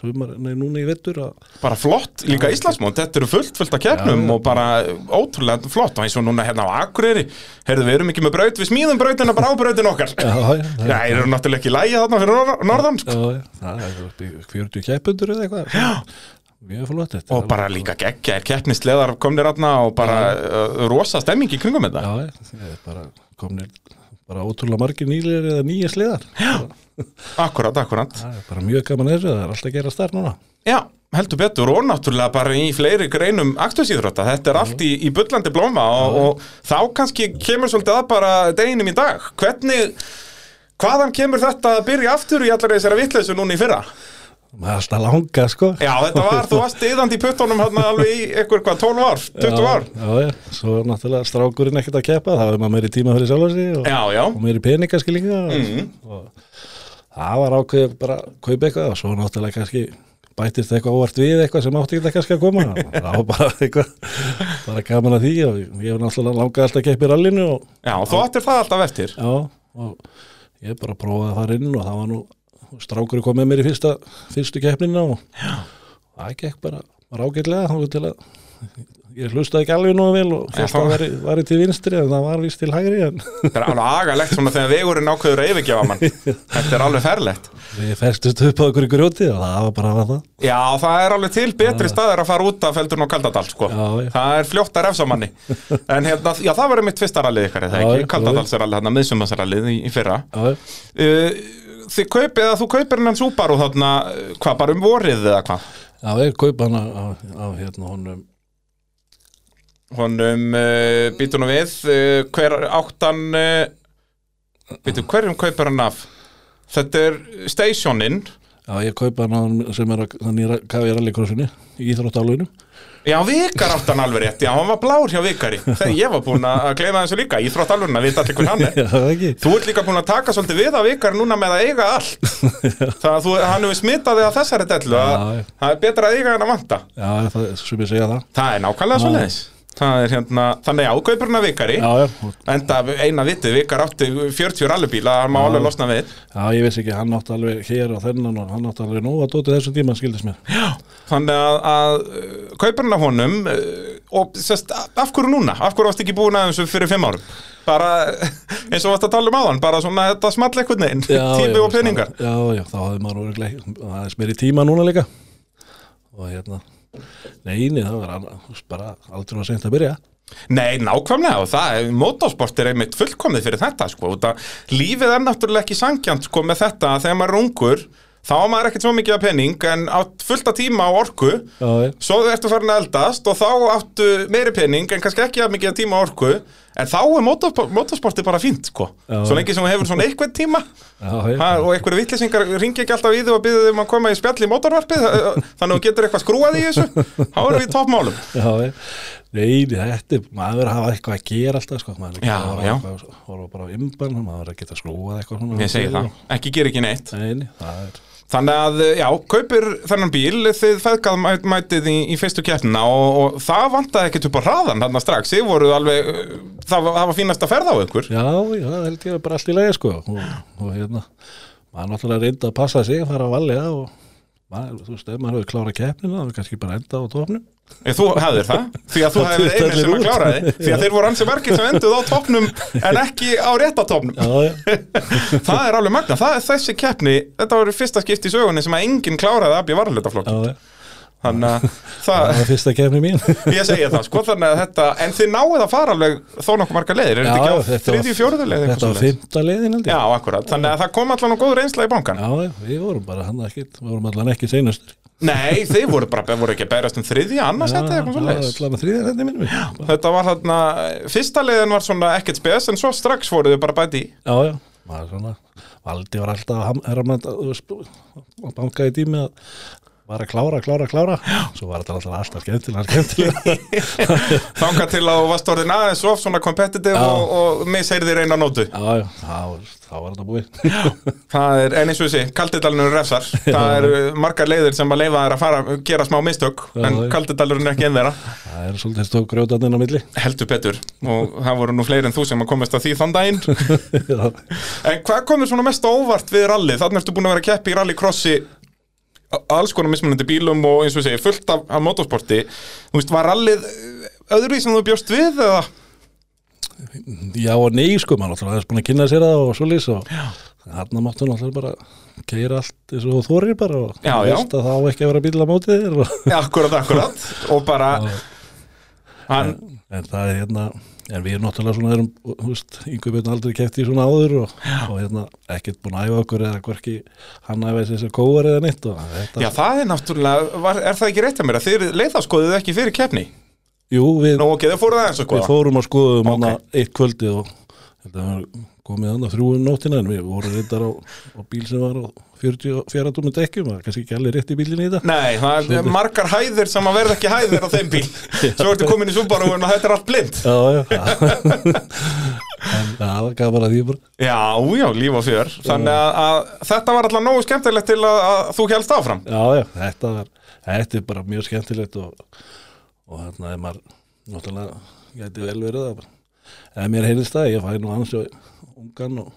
S2: sumar, nei, núna í vettur að
S1: bara flott, líka Íslandsmót, þetta eru fullt fullt af keppnum og bara ótrúlega flott og eins og núna hérna á Akureyri heyrðu við erum ekki með braut, við smíðum brautina bara á brautin okkar
S2: Já,
S1: Já,
S2: já, það er-
S1: það eru náttúrulega ekki lægi þarna fyrir norð- norðan sko.
S2: já, já, það er upp í 40 keppundur eða eitthvað mjög flott þetta
S1: og bara líka geggja er keppnisleðar komnir aðna og bara uh, rosa stemming í kringum þetta
S2: já, það er bara komnir bara ótrúlega margir nýlir eða nýja sliðar
S1: akkurat, akkurat
S2: það er bara mjög gaman þessu, það er alltaf að gera starf núna
S1: Já, heldur betur og náttúrulega bara í fleiri greinum aktusíðrota, þetta er allt í, í bullandi blóma og, og þá kannski kemur svolítið að bara deginum í dag hvernig, hvaðan kemur þetta að byrja aftur í allar þessara vitleysu núna í fyrra?
S2: maður er alltaf langa sko
S1: Já, þetta var, þú varst yðandi í puttunum hann alveg í einhver hvað, 12 ár, 20 ár
S2: já, já, svo er náttúrulega strákurinn ekkert að keppa það er maður meiri tíma fyrir sjálf sig og,
S1: Já, Mhm. já,
S2: og meiri peningaskilinga mm. og það var ákveðið bara að kaupa eitthvað og svo náttúrulega kannski bætist eitthvað óvart við eitthvað sem átti ekki kannski að koma það var bara eitthvað bara gaman að því og ég hef náttúrulega langað alltaf að keppa í rallinu og
S1: já, þú áttir það alltaf eftir
S2: já, og ég bara prófaði að fara inn og það var nú strákur kom með mér í fyrsta, fyrstu keppnina og já. það gekk bara var ágætlega þá til að ég hlustaði ekki alveg nógu vel og fyrst
S1: þá-
S2: það væri, væri til vinstri en það var vist til hægri en
S1: Þetta er alveg agalegt svona þegar vegurinn ákveður að yfirgefa mann Þetta er alveg ferlegt
S2: við festist upp á okkur í grjóti og það var bara það
S1: Já, það er alveg til betri staðar að fara út af feldurinn og Kaldadal, sko.
S2: Já, já.
S1: Það er fljótt að refsa manni. En hérna, já, það verður mitt fyrsta rallið ykkar, eða
S2: Já,
S1: ekki?
S2: já,
S1: Kaldadals er alveg hérna, miðsumarsrallið í, í fyrra.
S2: já, já.
S1: Uh, þið kaupið, eða þú kaupir hennan Subaru þarna, uh, hvað, bara um vorið eða hvað?
S2: Já, ég kaupa hana á, á hérna honum
S1: Honum, uh, býtunum við, uh, hver áttan, uh, býtu, hverjum kaupir hann af? Þetta er stationinn.
S2: Já, ég kaupa hana á honum sem er að hann er að kafa í rallycrossinu í Íþróttálugunum
S1: Já, vikar áttan alveg rétt, já, hann var blár hjá vikari. Þegar ég var búin að gleyma þessu líka, ég þrótt alveg að vita allir hver hann er.
S2: Já, það ekki
S1: Þú ert líka búin að taka svolítið við af ykkar núna með að eiga allt Það að þú, hann hefur smitað þig að þessari dellu að
S2: Já, já.
S1: það er betra að eiga en að vanta
S2: Já, það er sem ég segja það
S1: Það er nákvæmlega svoleiðis Það er hérna, þannig ákaupurna vikari
S2: Já, já, og
S1: Enda eina vitið, vikar átti 40 rallubíla, hann má alveg losna við
S2: Já, ég veist ekki, hann átti alveg hér og þennan og hann átti alveg nóg að dóti þessum tíma, skildist mér.
S1: Já Þannig að, að kaupurna honum uh, og sest, af hverju núna? Af hverju varst ekki búin aðeins fyrir fimm árum? Bara, eins og varst að tala um áðan, bara svona þetta small eitthvað neginn, tími og peningar
S2: Já, já, þá hafði maður orðið aðeins meiri tíma núna líka. Og hérna, neini, það var hann, bara aldrei var seint að byrja.
S1: Nei, nákvæmlega og það, er- motorsport er einmitt fullkomið fyrir þetta sko, út að lífið er náttúrulega ekki sangjant sko með þetta að þegar maður er ungur þá á maður ekkert svo mikið af pening en átt fullta tíma og orku
S2: Já, já,
S1: svo ertu farin að eldast og þá áttu meiri pening en kannski ekki af mikið af tíma og orku en þá er motorsport, motorsporti bara fínt sko,
S2: Já.
S1: svo lengi sem þú hefur svona eitthvað tíma
S2: já, já.
S1: ha, og einhverju vittlisingar ringi ekki alltaf í þau og byrðu þau um að koma í spjall í motorvarpið þannig að þú getur eitthvað skrúað í þessu þá erum við í toppmálum
S2: Já, já. Neini, þetta er, maður verður að hafa eitthvað að gera alltaf, sko. Maður er ekki
S1: Já,
S2: að
S1: já.
S2: hafa eitthvað, horfa bara á ymban, maður er að geta skrúað eitthvað svona.
S1: Ég segi það, ekki gera ekki neitt
S2: Neini, það er,
S1: Þannig að, eh, já, kaupir þennan bíl þið feðgað mæ- mætið í, í fyrstu keppnina og, og það vantaði ekkert upp á hraðan þarna strax, þið voruð alveg uh, það var, það var fínast að ferða á ykkur
S2: já, já, það held ég að bara allt í lagi, sko. Og, og hérna, maður náttúrulega reyndi að passa sig að fara að valja og maður, þú veist, ef maður hefur klárað keppnina, það er kannski bara enda á tofnum.
S1: Ég, Þú hefðir það, því að þú
S2: Það
S1: hefðir
S2: tuttar
S1: einu sem
S2: allir
S1: að
S2: út.
S1: klára þið því að þeir voru ansi margir sem enduð á topnum en ekki á rétta topnum
S2: Já, já.
S1: Það er alveg magna, það er þessi keppni þetta voru fyrsta skipt í sögunni sem að enginn kláraði að bjöð varalitaflokk
S2: Já, já,
S1: Þannig að það,
S2: það var fyrsta kefni mín
S1: ég segja það, sko þannig að þetta en þið náið að fara alveg þó nokkuð marga leiðir er þetta ekki á þriðju fjóruðuleið
S2: Þetta var fymta leiðin held
S1: Já,
S2: ég
S1: akkurat, þannig að það kom allan og góð reynsla í bankan
S2: Já, já, við vorum bara hann ekkert, við vorum allan ekki seinastur
S1: Nei, þeir voru bara, voru ekki að berast um þriðja annars þetta eða eitthvað svo leis
S2: allan að þriðja þetta minnum Já,
S1: Þetta var þarna, fyrsta leiðin var svona ekkert spes en svo strax voru þau bara bæti í
S2: já, maður svona Valdi var alltaf að ham- herra mann að þú veist, að banka í tími að var að klára, klára, klára svo var þetta alltaf alltaf skemmtilega, skemmtilega
S1: Þanga til að þú varst orðin aðeins of svona competitive og, og misheyrðir eina nótu
S2: já, já, þá, þá var þetta búið
S1: Það er, en eins og þessi, kaldidalunum refsar Það eru margar leiðir sem að leifa þær að fara gera smá mistök, en
S2: já.
S1: kaldidalurinn er ekki einn þeirra,
S2: það er svolítið stók grjótaninn á milli
S1: heldur betur og það voru nú fleiri en þú sem að komast að því þann daginn En hvað komir svona mest á óvart við rally? Þannig ertu búin að vera að keppi í rallycrossi á- alls konar mismunandi bílum og eins og segja, fullt af, af motorsporti Þú veist, var rallið eh, öðruvísi sem þú bjóst við eða?
S2: já og nei sko, maður náttúrulega aðeins búin að kynna sér það og svolítið og þarna máttu náttúrulega bara keira allt eins og þú þorir bara og
S1: Já,
S2: þú
S1: já.
S2: veist að það á ekki að vera bíl á móti þér og
S1: Ja, akkurat, akkurat og bara hann,
S2: en það er hérna en við erum náttúrulega svona erum húst, yngur björn aldrei kæft í svona áður og, og hérna ekkert búin að æfa okkur eða hvorki hann æfa þessi kóar eða neitt og þetta,
S1: Já, það er náttúrulega, var, er það ekki rétt að mér að þið leiðaskoðuð ekki fyrir keppni?
S2: jú við,
S1: Nú ok, þau fóruð aðeins og
S2: við
S1: skoða
S2: fórum að skoðum okay. eitt kvöldið og þetta var komið hann að þrjúum nóttina en við vorum reyndar á, á bíl sem var á 44 tómum dekkjum og kannski ekki alveg rétt í bílinni í þetta
S1: Nei, það er margar hæðir sem að verða ekki hæðir á þeim bíl Svo ertu komin í Subaru og þetta er allt blind
S2: já, já, en það var gaman að því bara
S1: Já, já, líf og fjör Þannig að, að þetta var alltaf nógu skemmtilegt til að, að þú helst áfram
S2: Já, já, þetta var, þetta er bara mjög skemmtilegt og, og hérna er maður, náttúrulega, gæti vel verið það bara. Ef mér heyrðist það, ég fæ nú hans og ungan og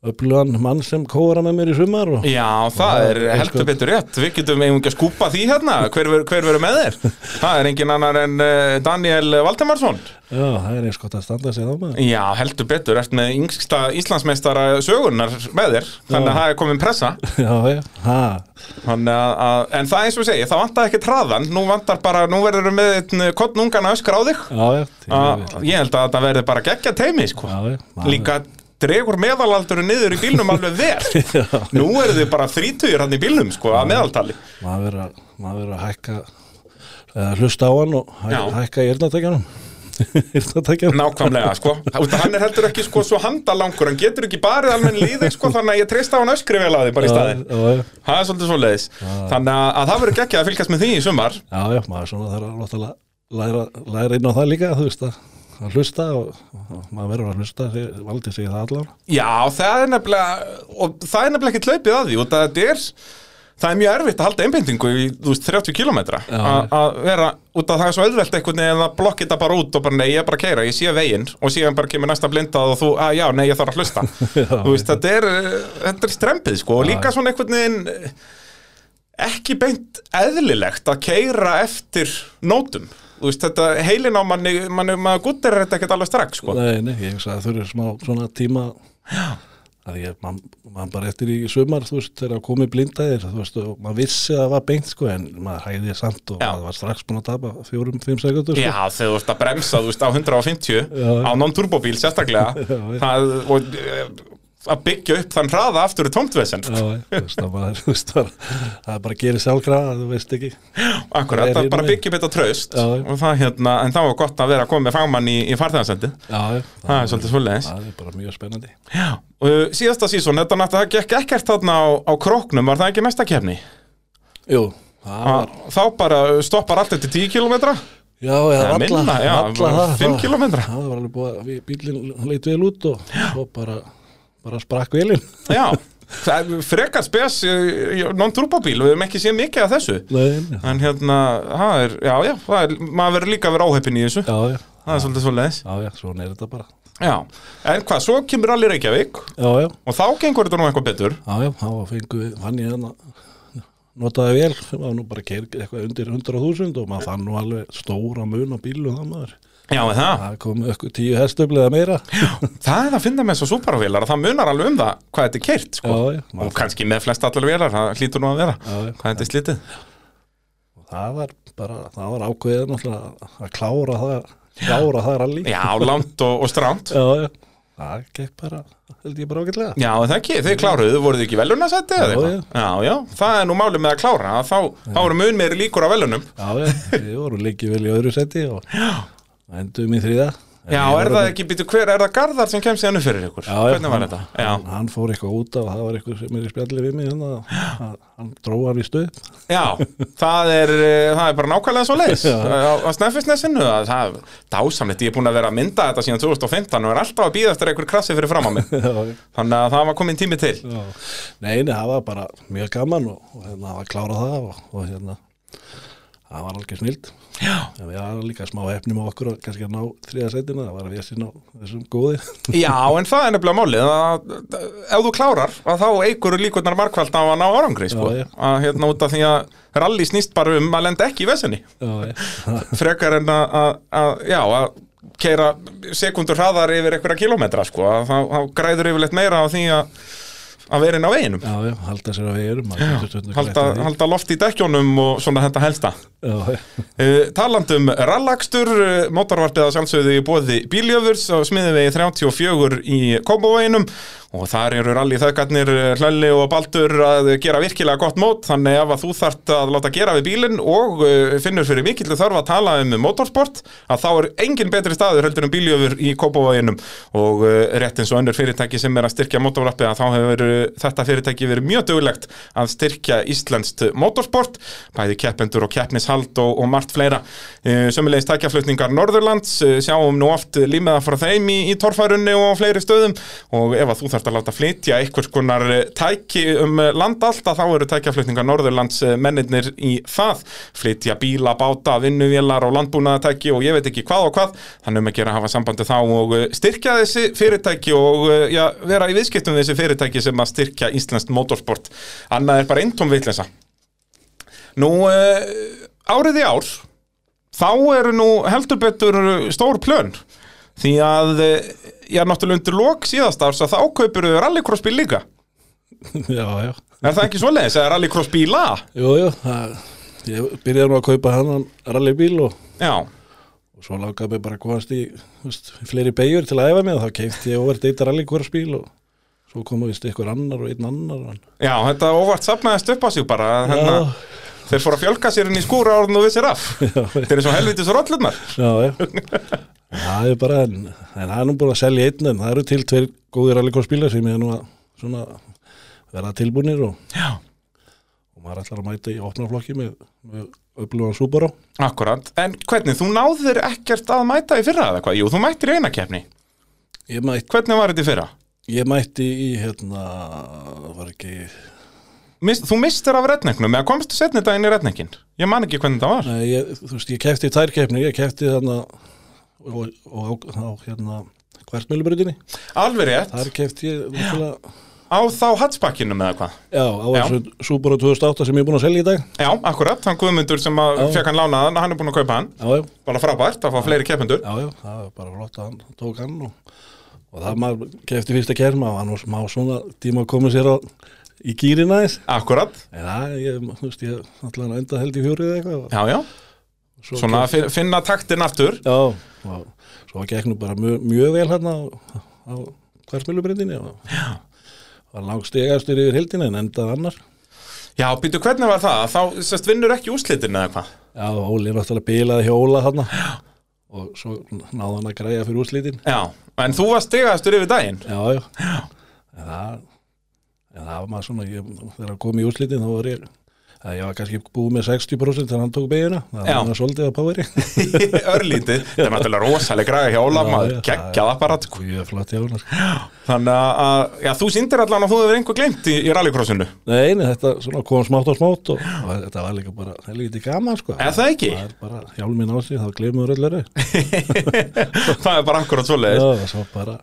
S2: upplöðan mann sem kóra með mér í sumar og
S1: Já, það er heldur betur rétt Við getum eigum ekki að skúpa því hérna Hver, ver- hver verður með þér? Það er engin annar en eh, Daniel Valdemarsson
S2: já, það er eins gott að standa sig á maður.
S1: Já, heldur betur, ert með yngsta Íslandsmeistara sögunar með þér Þannig að það er komin pressa
S2: Já, já, ha,
S1: Þannig að, að, en það eins og segja, það vantar ekki traðan, nú vantar bara, nú verður við með einn kottnungan að öskra á þig.
S2: já, já, til
S1: Að,
S2: við-
S1: ég held að þetta verður bara geggja teimi, sko.
S2: já, já, maður-
S1: Líka dregur meðalaldurinn niður í bílnum alveg vel.
S2: Já,
S1: Nú eru þið bara þrítugir hann í bílnum, sko, að meðaltali.
S2: maður verður að, maður verður að hækka, eða hlusta á hann og hæ,
S1: Já.
S2: hækka í yrnatækjanum. yrnatækjanum.
S1: Nákvæmlega, sko. Það, út af hann er heldur ekki, sko, svo handalangur, hann getur ekki barið almenn líðið, sko, þannig að ég treysta á hann öskri vel að þið bara í staðin.
S2: Já, já, já.
S1: Það er svolítið svoleiðis. Þannig að, að það verður geggjað að fylgjast með því í sumar.
S2: Já, já, maður svona þarf að náttúrulega læra, læra inn á það líka, þú veist að, að hlusta og, og maður verður að hlusta þegar valdið segir það allar.
S1: Já, það er nefnilega og það er nefnilega ekkert hlaupið að því og það er, það er mjög erfitt að halda einbendingu í þú veist, 30 kilometra a- að vera, út af það er svo auðvelt einhvern veginn að blokki þetta bara út og bara nei, ég er bara að keira, ég sé veginn og síðan bara kemur næsta blindað og þú, að já, nei, ég þarf að hlusta þú veist, þetta er eh, þetta er strempið, sko, og líka svona einhvern veginn eh, ekki beint eðlilegt að keira eftir nótum, þú veist, þetta heilin á manni, manni, maður guttir þetta ekkert alveg strax, sko,
S2: Nei, nei, ég hugsa að þurfi smá svona tíma að ég, mann man bara eftir í sumar, þú veist, þegar að komi blindaðir, þú veist, og maður vissi að það var beint, sko, en maður hæði samt og
S1: Já.
S2: maður var strax búin að tapa fjórum, fimm sekundur, sko.
S1: Já, þegar þú ert að bremsa, þú veist, á 150
S2: Já.
S1: á non-turbóbíl sérstaklega
S2: Já, já.
S1: það, og eh, að byggja upp þann hraða aftur í tómtvesen sko.
S2: Já, þú veist, það, maður, þú veist, það, það er bara að gera sjálfkrafa, þú veist ekki.
S1: Akkurat,
S2: Það er
S1: það er bara
S2: hinum
S1: að byggja upp þetta traust
S2: Já, já.
S1: og það hérna, en það var gott að vera að koma með fagmann í, í farþegarsendi
S2: Já, já.
S1: Það er svolítið svoleiðis
S2: Það er bara mjög spennandi.
S1: Já, og uh, síðasta sísón, þetta náttúrulega gekk ekkert þarna á, á króknum, var það ekki næsta kefni?
S2: Jú, það var
S1: Þá bara uh, stoppar allt eftir 10 kilometra
S2: Já, eða
S1: Eða
S2: valla,
S1: minna, já,
S2: valla
S1: bara
S2: það,
S1: fimm
S2: það-
S1: kílómetra.
S2: Það var alveg búið að við- bíllinn leit vel út og svo bara, bara sprakk velin
S1: Já, það er frekar spes eh, non-turbóbíl, við höfum ekki séð mikið af þessu
S2: Nei, nei.
S1: En hérna, það er, já, já, það er, maður verður líka að vera áheppin í þessu,
S2: Já, já,
S1: það er svolítið svolítið,
S2: já, já, svona er þetta bara
S1: já, en hvað, svo kemur allir Reykjavík
S2: Já, já,
S1: og þá gengur þetta nú eitthvað betur,
S2: já, já, þá fengu við, fann ég hann notaði vel, það var nú bara keir eitthvað undir 100.000 og maður fann nú alveg stóra mun á bílu það maður
S1: já, en það,
S2: Það kom eitthvað tíu hestöflið eða meira
S1: það er að finna með þessu súparavélar að það munar alveg um það hvað þetta er keirt, sko,
S2: Já, já,
S1: og
S2: maður,
S1: kannski með flest allar vélar, það hlýtur nú að vera,
S2: já, já.
S1: hvað þetta er slitið,
S2: það var bara, það var ákveðið náttúrulega að klára það, klára það rally
S1: já, langt og, og stránt,
S2: Já, já, það gekk bara, held ég bara ágætlega
S1: já, en það ekki, þið kláruðu, voruð þið ekki velunarsætti eða
S2: Já,
S1: eitthvað, já, já, það er nú málið með að klára, að þá, þá eru mun meiri líkur á velunum,
S2: Já, já, við vorum lengi vel í öðru seti og endum í þriða En
S1: Já,
S2: ég var
S1: er
S2: þarna-
S1: það ekki, býtu hver, er það Garðar sem kemst í hannu fyrir ykkur?
S2: Já, já,
S1: Hvernig var
S2: hann-
S1: þetta?
S2: hann,
S1: Já,
S2: hann fór eitthvað út af það var eitthvað sem er í spjalli við mig hérna, að- hann dróð hann í stuð
S1: já það, er, eh, það er bara nákvæmlega svo leis
S2: Já.
S1: á, á Snæfisnesinu, það- það er dásamlegt, ég er búin að vera að mynda þetta síðan 2015 og er alltaf að býða eftir einhver krassi fyrir fram á mig þannig að það var komin tími til
S2: nei, nei, það var bara mjög gaman og, og hérna, það var klárað það og, og hérna, það var algjör snild
S1: Já,
S2: en við varum líka smá hefnum á okkur og kannski að ná þriða setina, það var að við sinna þessum góði
S1: já en það er nefnilega málið að, ef þú klárar að þá eigur líkurnar markvælt á að ná árangri sko.
S2: Já, já.
S1: að hérna út af því að rally snýst bara um að lenda ekki í vesenni
S2: já,
S1: frekar en að- að að- já, að keira sekundur hraðar yfir einhverja kilometra sko, að þá, þá græður yfirleitt meira á því að, að vera inn á veginum
S2: já, já, halda sér á veginum maður getur stundum
S1: halda,
S2: grætt á því.
S1: halda loft í dekkjónum og svona þetta helsta
S2: Já, já.
S1: Uh, talandum rallakstur, uh, mótorvarpið að sjálfsögðu í bóði bíljöfurs á smiðvegi 34 í komboveginum og þar eru ralli þaukarnir Hlölli og Baldur að gera virkilega gott mót þannig ef að þú þart að láta gera við bílinn og uh, finnur fyrir mikillu þörf að tala um motorsport að þá er engin betri staður heldur um bíljöfur í komboveginum og uh, rétt eins og önnur fyrirtæki sem er að styrkja mótorvarpið að þá hefur uh, þetta fyrirtæki verið mjög duglegt að styrkja íslenskt motorsport bæði keppendur og keppnishald og, og margt fleira. E, Sömmulegis tækjaflutningar Norðurlands, e, sjáum nú oft límiða frá þeim í, í torfærunni og á fleiri stöðum og ef að þú þarft að láta flytja einhvers konar eh, tæki um eh, land allt að þá eru tækjaflutningar Norðurlands eh, mennirnir í það, flytja bíla, báta, vinnuvélar og landbúnaðatæki og ég veit ekki hvað og hvað, þannig um að gera að hafa sambandi þá og eh, styrkja þessi fyrirtæki og eh, já, vera í viðskiptum við þessi fyrirtæki sem að styrkja íslenskt motorsport. Annað er bara eintóm vitleysa. Nú, uh, árið í ár, þá eru nú heldur betur stór plön. Því að, eh, já, náttúrulega undir lok síðast árs að þá kaupir þau rallycrossbíl líka.
S2: já, já,
S1: Er það ekki svoleiðis, eða rallycrossbíla?
S2: jú, jú það, ég byrjaði nú að kaupa hann rallybíl og
S1: Já,
S2: og svo langaði mig bara að komast í þú veist, fleiri beigur til að æfa mig og þá keipti ég ofar deyta rallykvarspíl og svo koma vist ykkur annar og einn annar og hann,
S1: já, þetta óvart safnaðist upp á sig bara. að Hérna,
S2: já,
S1: þeir fóru að fjölka sér inn í skúra árðin og vissir af. Þetta er eins og helvitis rollurnar.
S2: já, já það er bara en, en það er nú búin að selja einn en það eru til tveir góðir rallykvarspílar sem ég er nú að svona vera tilbúnir og,
S1: Já.
S2: og maður ætlar að mæta í opnaflokki með, með upplúan Subaru
S1: Akkurat, en hvernig, þú náðir ekkert að mæta í fyrra eða hvað? Jú, þú mættir í eina keppni.
S2: ég, mætt,
S1: Hvernig var þetta í fyrra?
S2: ég mætti í hérna var ekki,
S1: Mist, þú mistir af redningnum, eða komstu setni daginn í redningin? Ég man ekki hvernig það var.
S2: Nei, ég, þú veist, ég kefti í tær keppni, ég kefti þarna og, og á, á hérna hvertmjölubröðinni,
S1: Alveg rétt,
S2: þar kefti ég náttúrulega,
S1: á þá hattspakkinum eða hvað?
S2: já, á
S1: Já.
S2: þessu Subaru 2008 sem ég er búin að selja í dag
S1: Já, akkurat, hann Guðmundur sem að
S2: Já.
S1: fekk hann lánaðan, hann er búinn að kaupa hann
S2: já, já,
S1: bara frábært, að fá fleiri keppendur
S2: já, já, það var bara flott að hann tók hann og, og það maður kefti fyrsta kerma og hann var smá svona tíma að koma sér á í gýrina þess
S1: Akkurat,
S2: en það, ég, þú veist, ég náttúrulega enda held í fjórið eða eitthvað
S1: já, já,
S2: og svo
S1: svona að fin- finna taktin aftur
S2: Já, og svo gekk nú bara mjög, mjög vel hérna á, á hversmilubrindinni og var langstegastur yfir heldina en endað annar.
S1: Já, býtu, hvernig var það? Þá sest, vinnur ekki úrslitin eða hvað?
S2: Já, Óli náttúrulega bilaði hjóla hérna og svo náði hann að græja fyrir úrslitin.
S1: Já, en þú var stigaðastur yfir daginn
S2: Já, já. En það, en það var maður svona, ég, þegar hann kom í úrslitin þá var ég, að ég var kannski búið með 60% þegar hann tók beigina. Það
S1: Já.
S2: var hann svolítið að pári.
S1: Örlítið, það er náttúrulega rosaleg græði hjá Óla
S2: Já,
S1: maður
S2: já,
S1: geggjað apparat sko.
S2: Ég er flott hjá hann. sko.
S1: Þannig að- að, já, þú sýndir allan að þú hefur einhver glemt í, í rallycrossinu
S2: Nei, nei, þetta svona kom smátt og smátt og, og þetta var líka bara, það er líka gaman sko.
S1: Er það ekki?
S2: Það er bara hjálminn á sig, þá glemur öll öru.
S1: það er bara akkurat svoleiðis
S2: Já, svo bara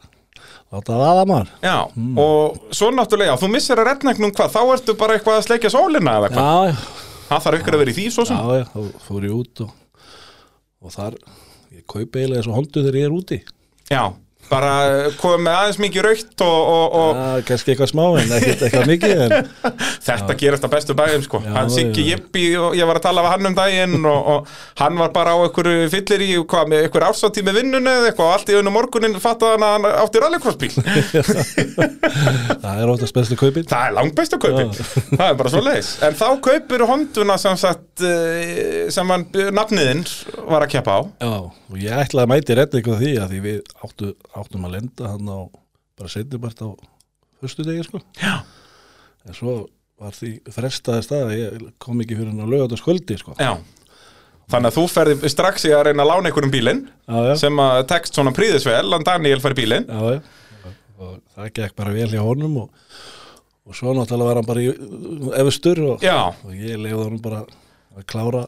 S2: láta það aða maður.
S1: Já,
S2: Hmm.
S1: og svo náttúrulega, já, þú missir að retnæknum hvað, þá ertu bara eitthvað að sleikja sólina eða hvað,
S2: Já,
S1: það þarf ykkur að vera í því svo
S2: já,
S1: sem.
S2: já, þá fór ég út og, og þar, ég kaupi eiginlega þessu hondu þegar ég er úti.
S1: Já, bara komið með aðeins mikið raukt og, og, og
S2: Já, kannski eitthvað smá en ekkert eitthvað mikið en
S1: þetta gerist að bestu bæðum sko
S2: Já,
S1: hann Siggi
S2: já.
S1: Jippi og ég var að tala af hann um daginn og, og hann var bara á einhverju fyllir í hvað með einhverju ársáttíð með vinnunni eða eitthvað og allt í unum morgunin fattaði hann að hann átti rallycrossbíl
S2: það er oftast bestu kaupin
S1: það er langbest að kaupin það er bara svo leiðis en þá kaupir honduna sem sagt eh, sem hann nafniðinn var að keppa á
S2: Já, og ég ætlaði að mæti redda eitthvað því að því við áttu, áttum að lenda hann á bara setjubart á höstu degi sko
S1: Já.
S2: en svo var því frestaði stað að ég kom ekki fyrir hann á lögataskvöldi sko
S1: já Þannig að þú ferði strax í að reyna að lána einhverjum bílinn
S2: Já, já,
S1: sem að tekst svona príðisvel en Daniel fær bílinn
S2: já, já. og það gekk bara vel hjá honum og, og svo náttúrulega var hann bara í efstur og,
S1: Já,
S2: og ég leiði honum bara að klára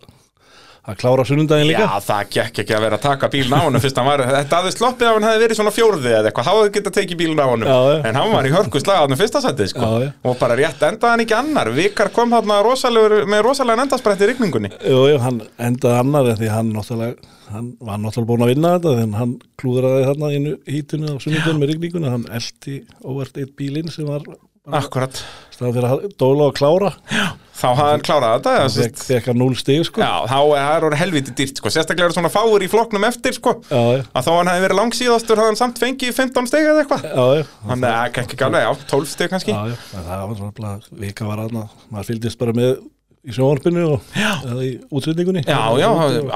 S2: að klára sunnundaginn líka
S1: Já, það gekk ekki að vera að taka bílinn á honum fyrst hann var, þetta hafði sloppið af hann hafði verið svona fjórði eða eitthvað, þá hafði getað tekið bílinn á honum
S2: Já, já.
S1: en hann var í hörku slagaðnum fyrsta sætið sko.
S2: Já, já.
S1: og bara rétt endaði hann ekki annar Vikar kom þarna rosalegur, með rosalega endasprett í rigningunni
S2: Jú, jú, hann endaði annar en því hann náttúrulega, hann var náttúrulega búin að vinna þetta þannig hann klúðraði þarna innu hítinu á sunnudun með rigninguna, hann eldi óvart eitt bílinn sem var
S1: Akkurat,
S2: staðan fyrir að dóla og klára
S1: þá hafði hann klárað þetta eða, sérst,
S2: fekk fekk hann núl stig sko
S1: Já, þá er það orðið helviti dýrt sko. sérstaklega eru svona fáur í flokknum eftir sko.
S2: já, já,
S1: að þá hann hefði verið langsíðastur hafði hann samt fengið 15 steg eða eitthvað
S2: já, já.
S1: Þannig að eh, ekki ekki alveg, já, 12 steg kannski
S2: já, já. En það var svona bara, vika var aðna maður fylgdist bara með í sjónvarpinu og eða í útsendingunni
S1: Já, já,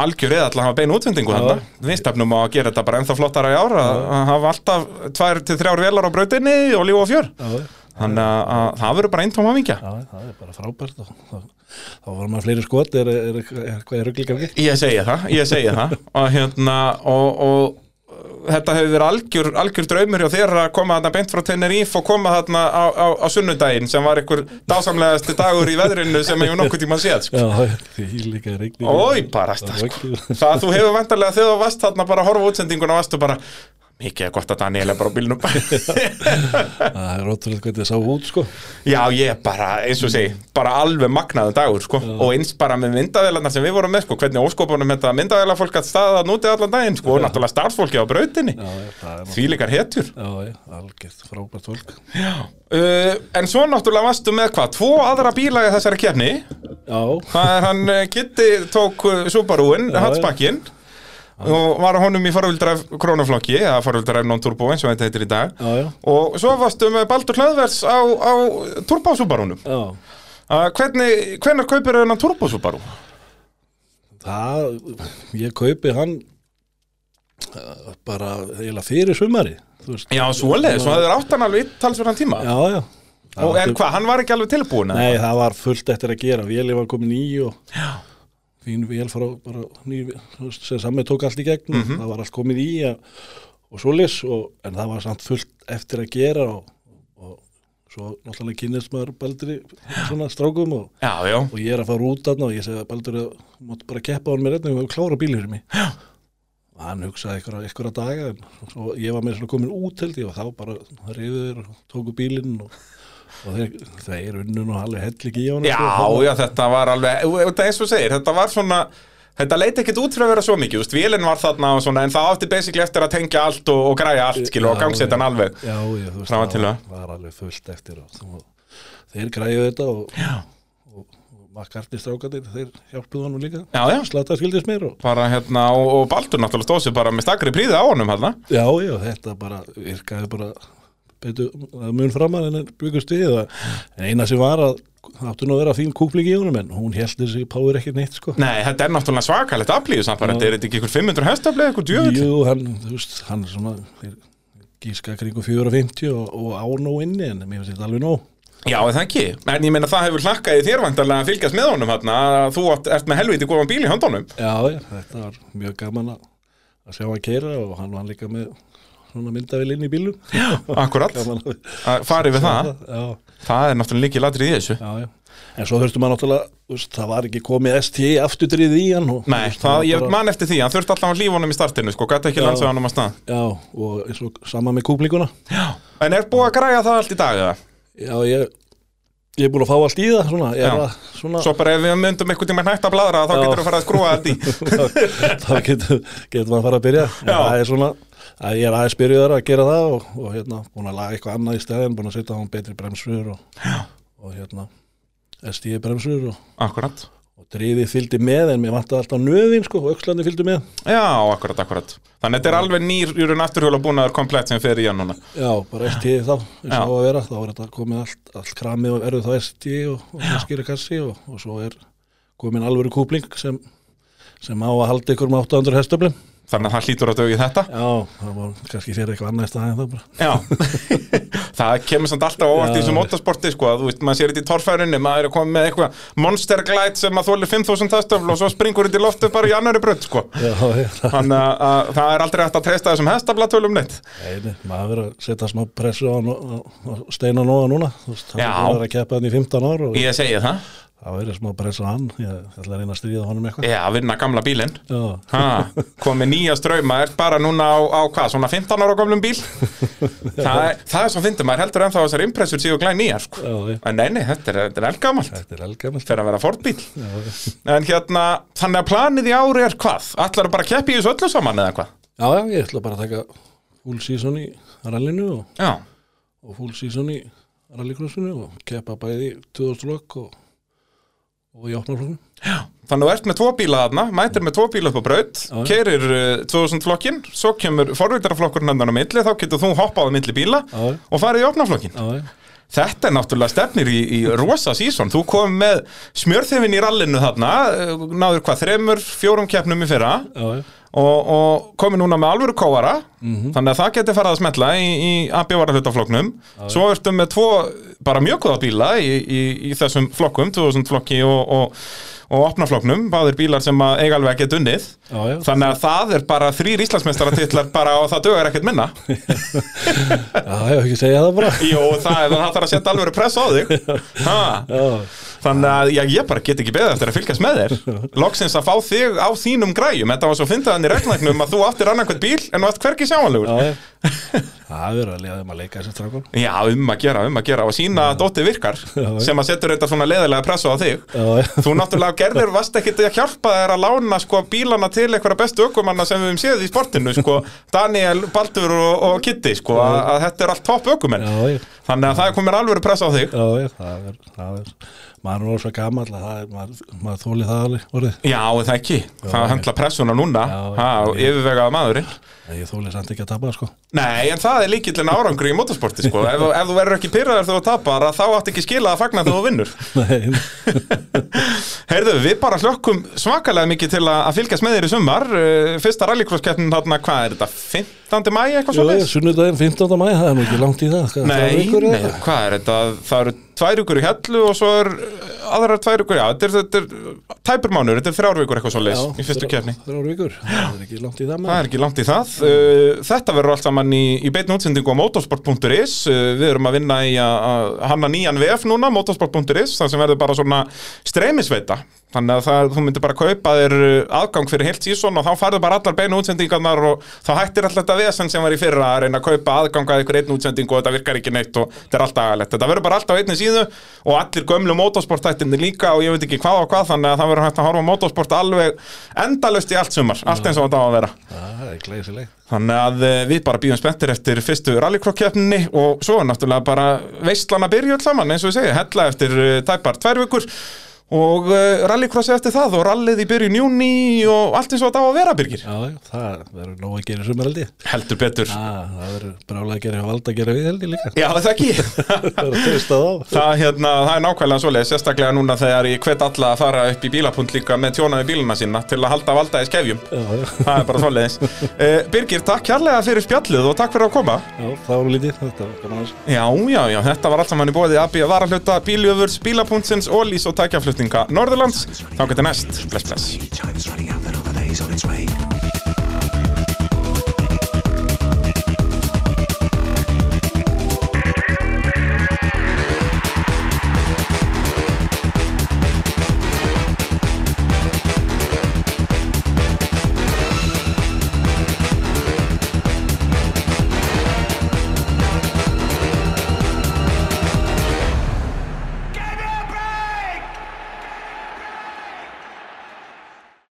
S1: algjör eða alltaf að hafa beinu útvendingu þarna Við stefnum á að gera þetta bara ennþá flottara í ár að að hafa alltaf tvær til þrjár velar á brautinni og líf og fjör
S2: Já, já.
S1: Þannig að- að það verður bara eintóm hafingja
S2: Já, það er bara frábært og þá, þá var maður fleiri skot er, er, er, er hvað er rugglingar
S1: Ég segi það, ég segi það og hérna og, og uh, þetta hefur verið algjör, algjör draumur hjá þér að koma þarna beint frá Tenerife og koma þarna á, á, á sunnudaginn sem var einhver dásamlegasti dagur í veðrinu sem ég nokkuð tíma séð sko.
S2: Já, já, því líka rigning
S1: Ói, bara
S2: Það
S1: stað
S2: var ekki-
S1: Það að þú hefur vantarlega þegar þú varst þarna bara að horfa á útsendinguna varstu bara mikið er gott að Daniel er bara á bílnum
S2: Það er ótrúlega hvernig það sá út sko
S1: Já, ég bara, eins og segi, bara alveg magnaðan dagur, sko, og eins bara með myndavélarnar sem við vorum með, sko, hvernig óskopunum þetta myndavélafólk að staða nútið allan daginn, sko, og náttúrulega starfsfólki á brautinni,
S2: Já, já, það er
S1: þvíleikar hetjur.
S2: náttúrulega Já, já, algjört frábært fólk
S1: Uh, en svo náttúrulega varstu með hvað, tvo aðra bíla í þessari kefni,
S2: Já,
S1: það er hann eh, Kitty tók eh, Subaru-in,
S2: Já, já.
S1: hatsbakkinn, og var honum í farvildræf krónuflokki, eða farvildræf non-turbo eins og þetta heitir í dag,
S2: já, já,
S1: og svo varstu með Baldur Hlaðvers á, á turbo-Subarunum.
S2: já
S1: Uh, hvernig, hvernig kaupir þennan Turbo Subaru?
S2: Það, ég kaupi hann eh, bara eiginlega fyrir sumari þú veist.
S1: Já, svoleiðis, svo það er áttan alveg talsverðan tíma
S2: Já, já
S1: Og er hvað, hann var ekki alveg tilbúin eða?
S2: Nei, það var fullt eftir að gera Véli var komin í og fín vél frá bara ný, þú veist, sem samme tók allt í gegn mm það var allt komin í og, og svolis og, en það var samt fullt eftir að gera og, og svo náttúrulega kynist maður Baldri svona strákum og,
S1: Já, já,
S2: og ég er að fara út aðna og ég segi að Baldur þú mátt bara keppa á hann með reynda og klára bíl fyrir mig Já. og hann hugsaði einhverja, einhverja daga en svo ég var með svona komin út held ég og þá bara reyður og tóku bílinn og, og þeir, þeir unnun og alveg hell ekki í sko. hann
S1: já, já, þetta var alveg Þetta eins og þú segir, þetta var svona Þetta leit ekkit út frá að vera svo mikið, þú veist, vélinn var þarna og svona, en það átti basically eftir að tengja allt og, og græja allt, skilu, og
S2: Já,
S1: gangsetja hann alveg.
S2: já, já, þú veist,
S1: Frá og til,
S2: það
S1: ja.
S2: var, var alveg fullt eftir og, og, þeir græðu þetta og, og, og makkarni strákandir þeir hjálpuðu hann líka
S1: Já, já,
S2: Slata skildist mér og
S1: bara hérna, og, og Baldur náttúrulega stóð sér bara með stakri príði á honum, hérna.
S2: Já, já, þetta bara virkaði bara betur, það mun framar en byggust við að- en eina sem var að það áttu nú að vera fín kúpling í honum en hún held þessi páður ekki neitt sko
S1: Nei, þetta er náttúrulega svakalegt aflíðu samt bara, þetta er þetta ekki ykkur 500 hestaflið, ykkur djöfull.
S2: Jú, hann, þú veist, hann svona þeir gíska kringu 450 og, og á nóg inni en mér finnst þetta alveg nóg
S1: Já, er það ekki. En ég meina það hefur hlakkað í þér vantarlega að fylgjast með honum hérna, að þú átt- ert með helviti góðan bíl í höndunum.
S2: Já, já, þetta var mjög gaman að, að sjá hann keira og hann var líka með svona myndavel inn í bílum Já,
S1: Akkurat,
S2: gaman að
S1: að fara yfir það.
S2: Já,
S1: Það er náttúrulega líkið ladrið í þessu.
S2: já, já En svo þurftum maður náttúrulega, þú veist, það var ekki komið ST afturdrið í hann og,
S1: Nei,
S2: þú veist,
S1: það,
S2: var
S1: ég
S2: bara-
S1: man eftir því, hann þurfti alltaf að lífa honum í startinu, sko, gæti ekki
S2: Já.
S1: landsað honum að stað.
S2: Já, og eins og sama með kúplinguna
S1: En er búið að græja það allt í dag eða?
S2: Já, ég, ég er búin að fá allt í það svona, ég
S1: Já.
S2: er að svona
S1: Svo bara ef við myndum einhvern tímann hægt að bladra, þá
S2: Já.
S1: getur þú farið að skrúa allt í.
S2: þá getur, getur maður að fara að byrja En
S1: Já.
S2: það er svona, að ég er aðeins byrjuður að gera það og, og hérna, búin að laga eitthvað annað í stæðin, búin að setja á hann betri bremsur og, og hérna, SDI bremsur og,
S1: Akkurat
S2: og driðið fylgdi með en mér vantaði alltaf nöðin sko og aukslandi fylgdi með.
S1: Já, akkurat, akkurat Þannig að þetta er alveg nýr í raun afturhjóla búnaður komplett sem fer í hann núna
S2: Já, bara SDI þá, eins og
S1: Já.
S2: á að vera, þá er þetta komið allt, allt kramið og erðu þá SDI og, og skýra kassi og, og svo er komin alvöru kúpling sem, sem á að halda ykkur með 800 hestöflum.
S1: Þannig að það hlýtur að dögi þetta
S2: Já, það var kannski fyrir eitthvað annað í stæðin þá bara.
S1: Já, það kemur samt alltaf óvart í
S2: Já.
S1: þessu motorsporti sko, að þú veist, maður sér þetta í torfærunni, maður er að koma með eitthvað monsterglæt sem að þóli 5.000 hestafl og svo springur þetta í loftu bara í annari brönd sko.
S2: Já, hérna.
S1: Þannig að- að það er aldrei hægt að treysta þessum um hestaflatölum neitt
S2: Nei, nei, maður verður að setja smá pressu á, á, á steinan og núna þú veist,
S1: Já.
S2: hann er að keppa hann í 15 ár og
S1: Ég segi það,
S2: það verður smá pressa á hann ég, ég ætla að reyna að stríða honum eitthvað
S1: já, vinna gamla bílinn
S2: Já,
S1: Ha, komið nýja ströma, er bara núna á, á hvað, svona 15 ára gömlum bíl það, er, það er svo fyndið, maður heldur ennþá að þessar impressur séu glæn nýjar sko.
S2: já, já.
S1: en nei, nei, þetta er, þetta er elgamalt
S2: þetta er elgamalt
S1: fyrir að vera fordbíl en hérna, þannig að planið í ári er hvað? Ætlar bara að keppi í þessu öllu saman eða hvað?
S2: Já, já, ég ætla bara að taka full season í rallinu og,
S1: Já,
S2: og full season í rallycrossinu og keppa bæði í 2000 lokk og, og í opnarflokknum
S1: þannig að þú ert með tvo bíla þarna mætir með tvo bíla upp á braut,
S2: já.
S1: kerir uh, 2000 flokkin, svo kemur forvitaraflokkurinn hendan á milli, þá getur þú hoppað á milli bíla
S2: Já, já.
S1: og farið í opnaflokkin
S2: Já, já,
S1: Þetta er náttúrulega stefnir í, í rosa sísón. Þú kom með smjörþefin í rallinu þarna, eh, náður hvað, þremur, fjórum keppnum í fyrra
S2: já, já.
S1: og, og komið núna með alvöru kóara, þannig að það geti farið að smetla í, í AB-varahlutaflokknum. Svo ertu með tvo bara mjög góða bíla í, í, í þessum flokkum, 2000 flokki og, og, og opnaflokknum, báðir bílar sem að eiga alveg að geta unnið.
S2: Já, já.
S1: Þannig að það er bara þrýr Íslandsmeistaratitlar bara og það dögur ekkert minna.
S2: já, já, ekki segja það bara
S1: Jó, það, það þarf að setja alvöru press á þig. Ha.
S2: Já,
S1: Þannig að já, ég bara get ekki beðið eftir að fylgjast með þér Loksins að fá þig á þínum græjum Þetta var svo fyndaðan í regnagnum að þú áttir annarkvæmt bíl En þú átt hvergi sjáanlegur
S2: já, já Það verður að leiða um að leika þessi strákon
S1: Já, um að gera, um að gera Og sína að Dótti virkar
S2: Já.
S1: Sem að setur þetta svona leðilega pressu á þig
S2: Já, já
S1: Þú náttúrulega gerðir vast ekkert að hjálpa þér að lána sko bílana til einhverja bestu ökumanna sem við höfum séð í sportinu sko Daniel, Baldur og, og Kitty sko að, að þetta er allt topp ökumenn
S2: Já, já
S1: Þannig að það komir alveg press á þig
S2: Já, já, það er, það er, maður er orðið svo gammal að það er, maður, maður þólið það alveg orðið.
S1: Já, er það ekki, það höndla pressuna núna
S2: Já, já.
S1: ha, og yfirvegaða maðurinn
S2: En ég þólið samt ekki að tapa, sko.
S1: Nei, en það er líkillin árangri í motorsporti sko. ef, ef þú verður ekki pyrraður þegar þú tapar að þá átt ekki skila að fagna þegar þú vinnur
S2: Nei, nei.
S1: Heyrðu, við bara hlökkum svakalega mikið til að, að fylgjast með þér í sumar Eh, Fyrsta rallycross-keppnin þarna, hvað er þetta, 15. mæ eitthvað
S2: Jú,
S1: svo
S2: ég, sunnudaginn 15. mæ, það er nú ekki langt í það. Hvað, þrjár
S1: Nei,
S2: vikur eða
S1: nei,
S2: eitthvað?
S1: hvað er þetta, það eru tvær ykkur í hellu og svo er eh, aðrar tvær ykkur, já, þetta er, þetta er tæpur mánur, þetta er þrjár vikur eitthvað svo leys
S2: Já,
S1: í fyrstu
S2: þrjár-
S1: keppni
S2: Þrjár vikur, það er ekki langt í það
S1: Það
S2: maður.
S1: er ekki langt í það. Uh, Þetta verður allt saman í, í beinu útsendingu á motorsport.is. Uh, Við erum að vinna í að að hanna nýjan VF núna, motorsport.is, þar sem verður bara svona streymisveita. Þannig að það, þú myndir bara kaupa þér uh, aðgang fyrir heilt sísón og þá farðu bara allar beinu útsendingarnar og þá hættir alltaf þetta vesen sem var í fyrra að reyna að kaupa aðgang að ykkur einn útsendingu og þetta virkar ekki neitt og þetta er alltaf agalegt. Þetta verður bara alltaf á einni síðu og allir gömlu motorsportættinni líka og ég veit ekki hvað og hvað þannig að það verður hægt að horfa á motorsport alveg endalust í allt sumar, allt eins og þetta á að vera.
S2: Það er glæsilegt.
S1: Þannig að eh, við bara býðum spenntir eftir fyrstu rallycross-keppninni og svo er náttúrulega bara veistlana byrju öll saman eins og ég segi, hella eftir eh, tæpar tvær vikur og eh, rallycross eftir það og rallið í byrjun júni og allt eins og þetta á að vera byrgir.
S2: Já, já, það verður nóg að gera sumaraldi.
S1: Heldur betur.
S2: Já, það verður brálega að gera hjá valda að gera við held ég líka.
S1: Já, það ekki.
S2: Það er að testa þá.
S1: Það, hérna, það er nákvæmlega svoleið, sérstaklega núna þegar ég hvet alla að fara upp í bílapunt líka með tjónaði bíluna sína til að halda valda í skefjum.
S2: Já, já,
S1: Það er bara svoleiðis. Uh, Birgir, takk kærlega fyrir spjallið og takk fyrir að koma.
S2: já, þá er lítið, þetta var gaman aðeins.
S1: Já, já, já, þetta var allt saman í bóði AB að vara hluta bíljöfurs, bílapunktsins, ólís og tækjaflutninga Norðurlands. Þá getur næst. Bless, bless.
S3: Time's running out, then another day's on its way.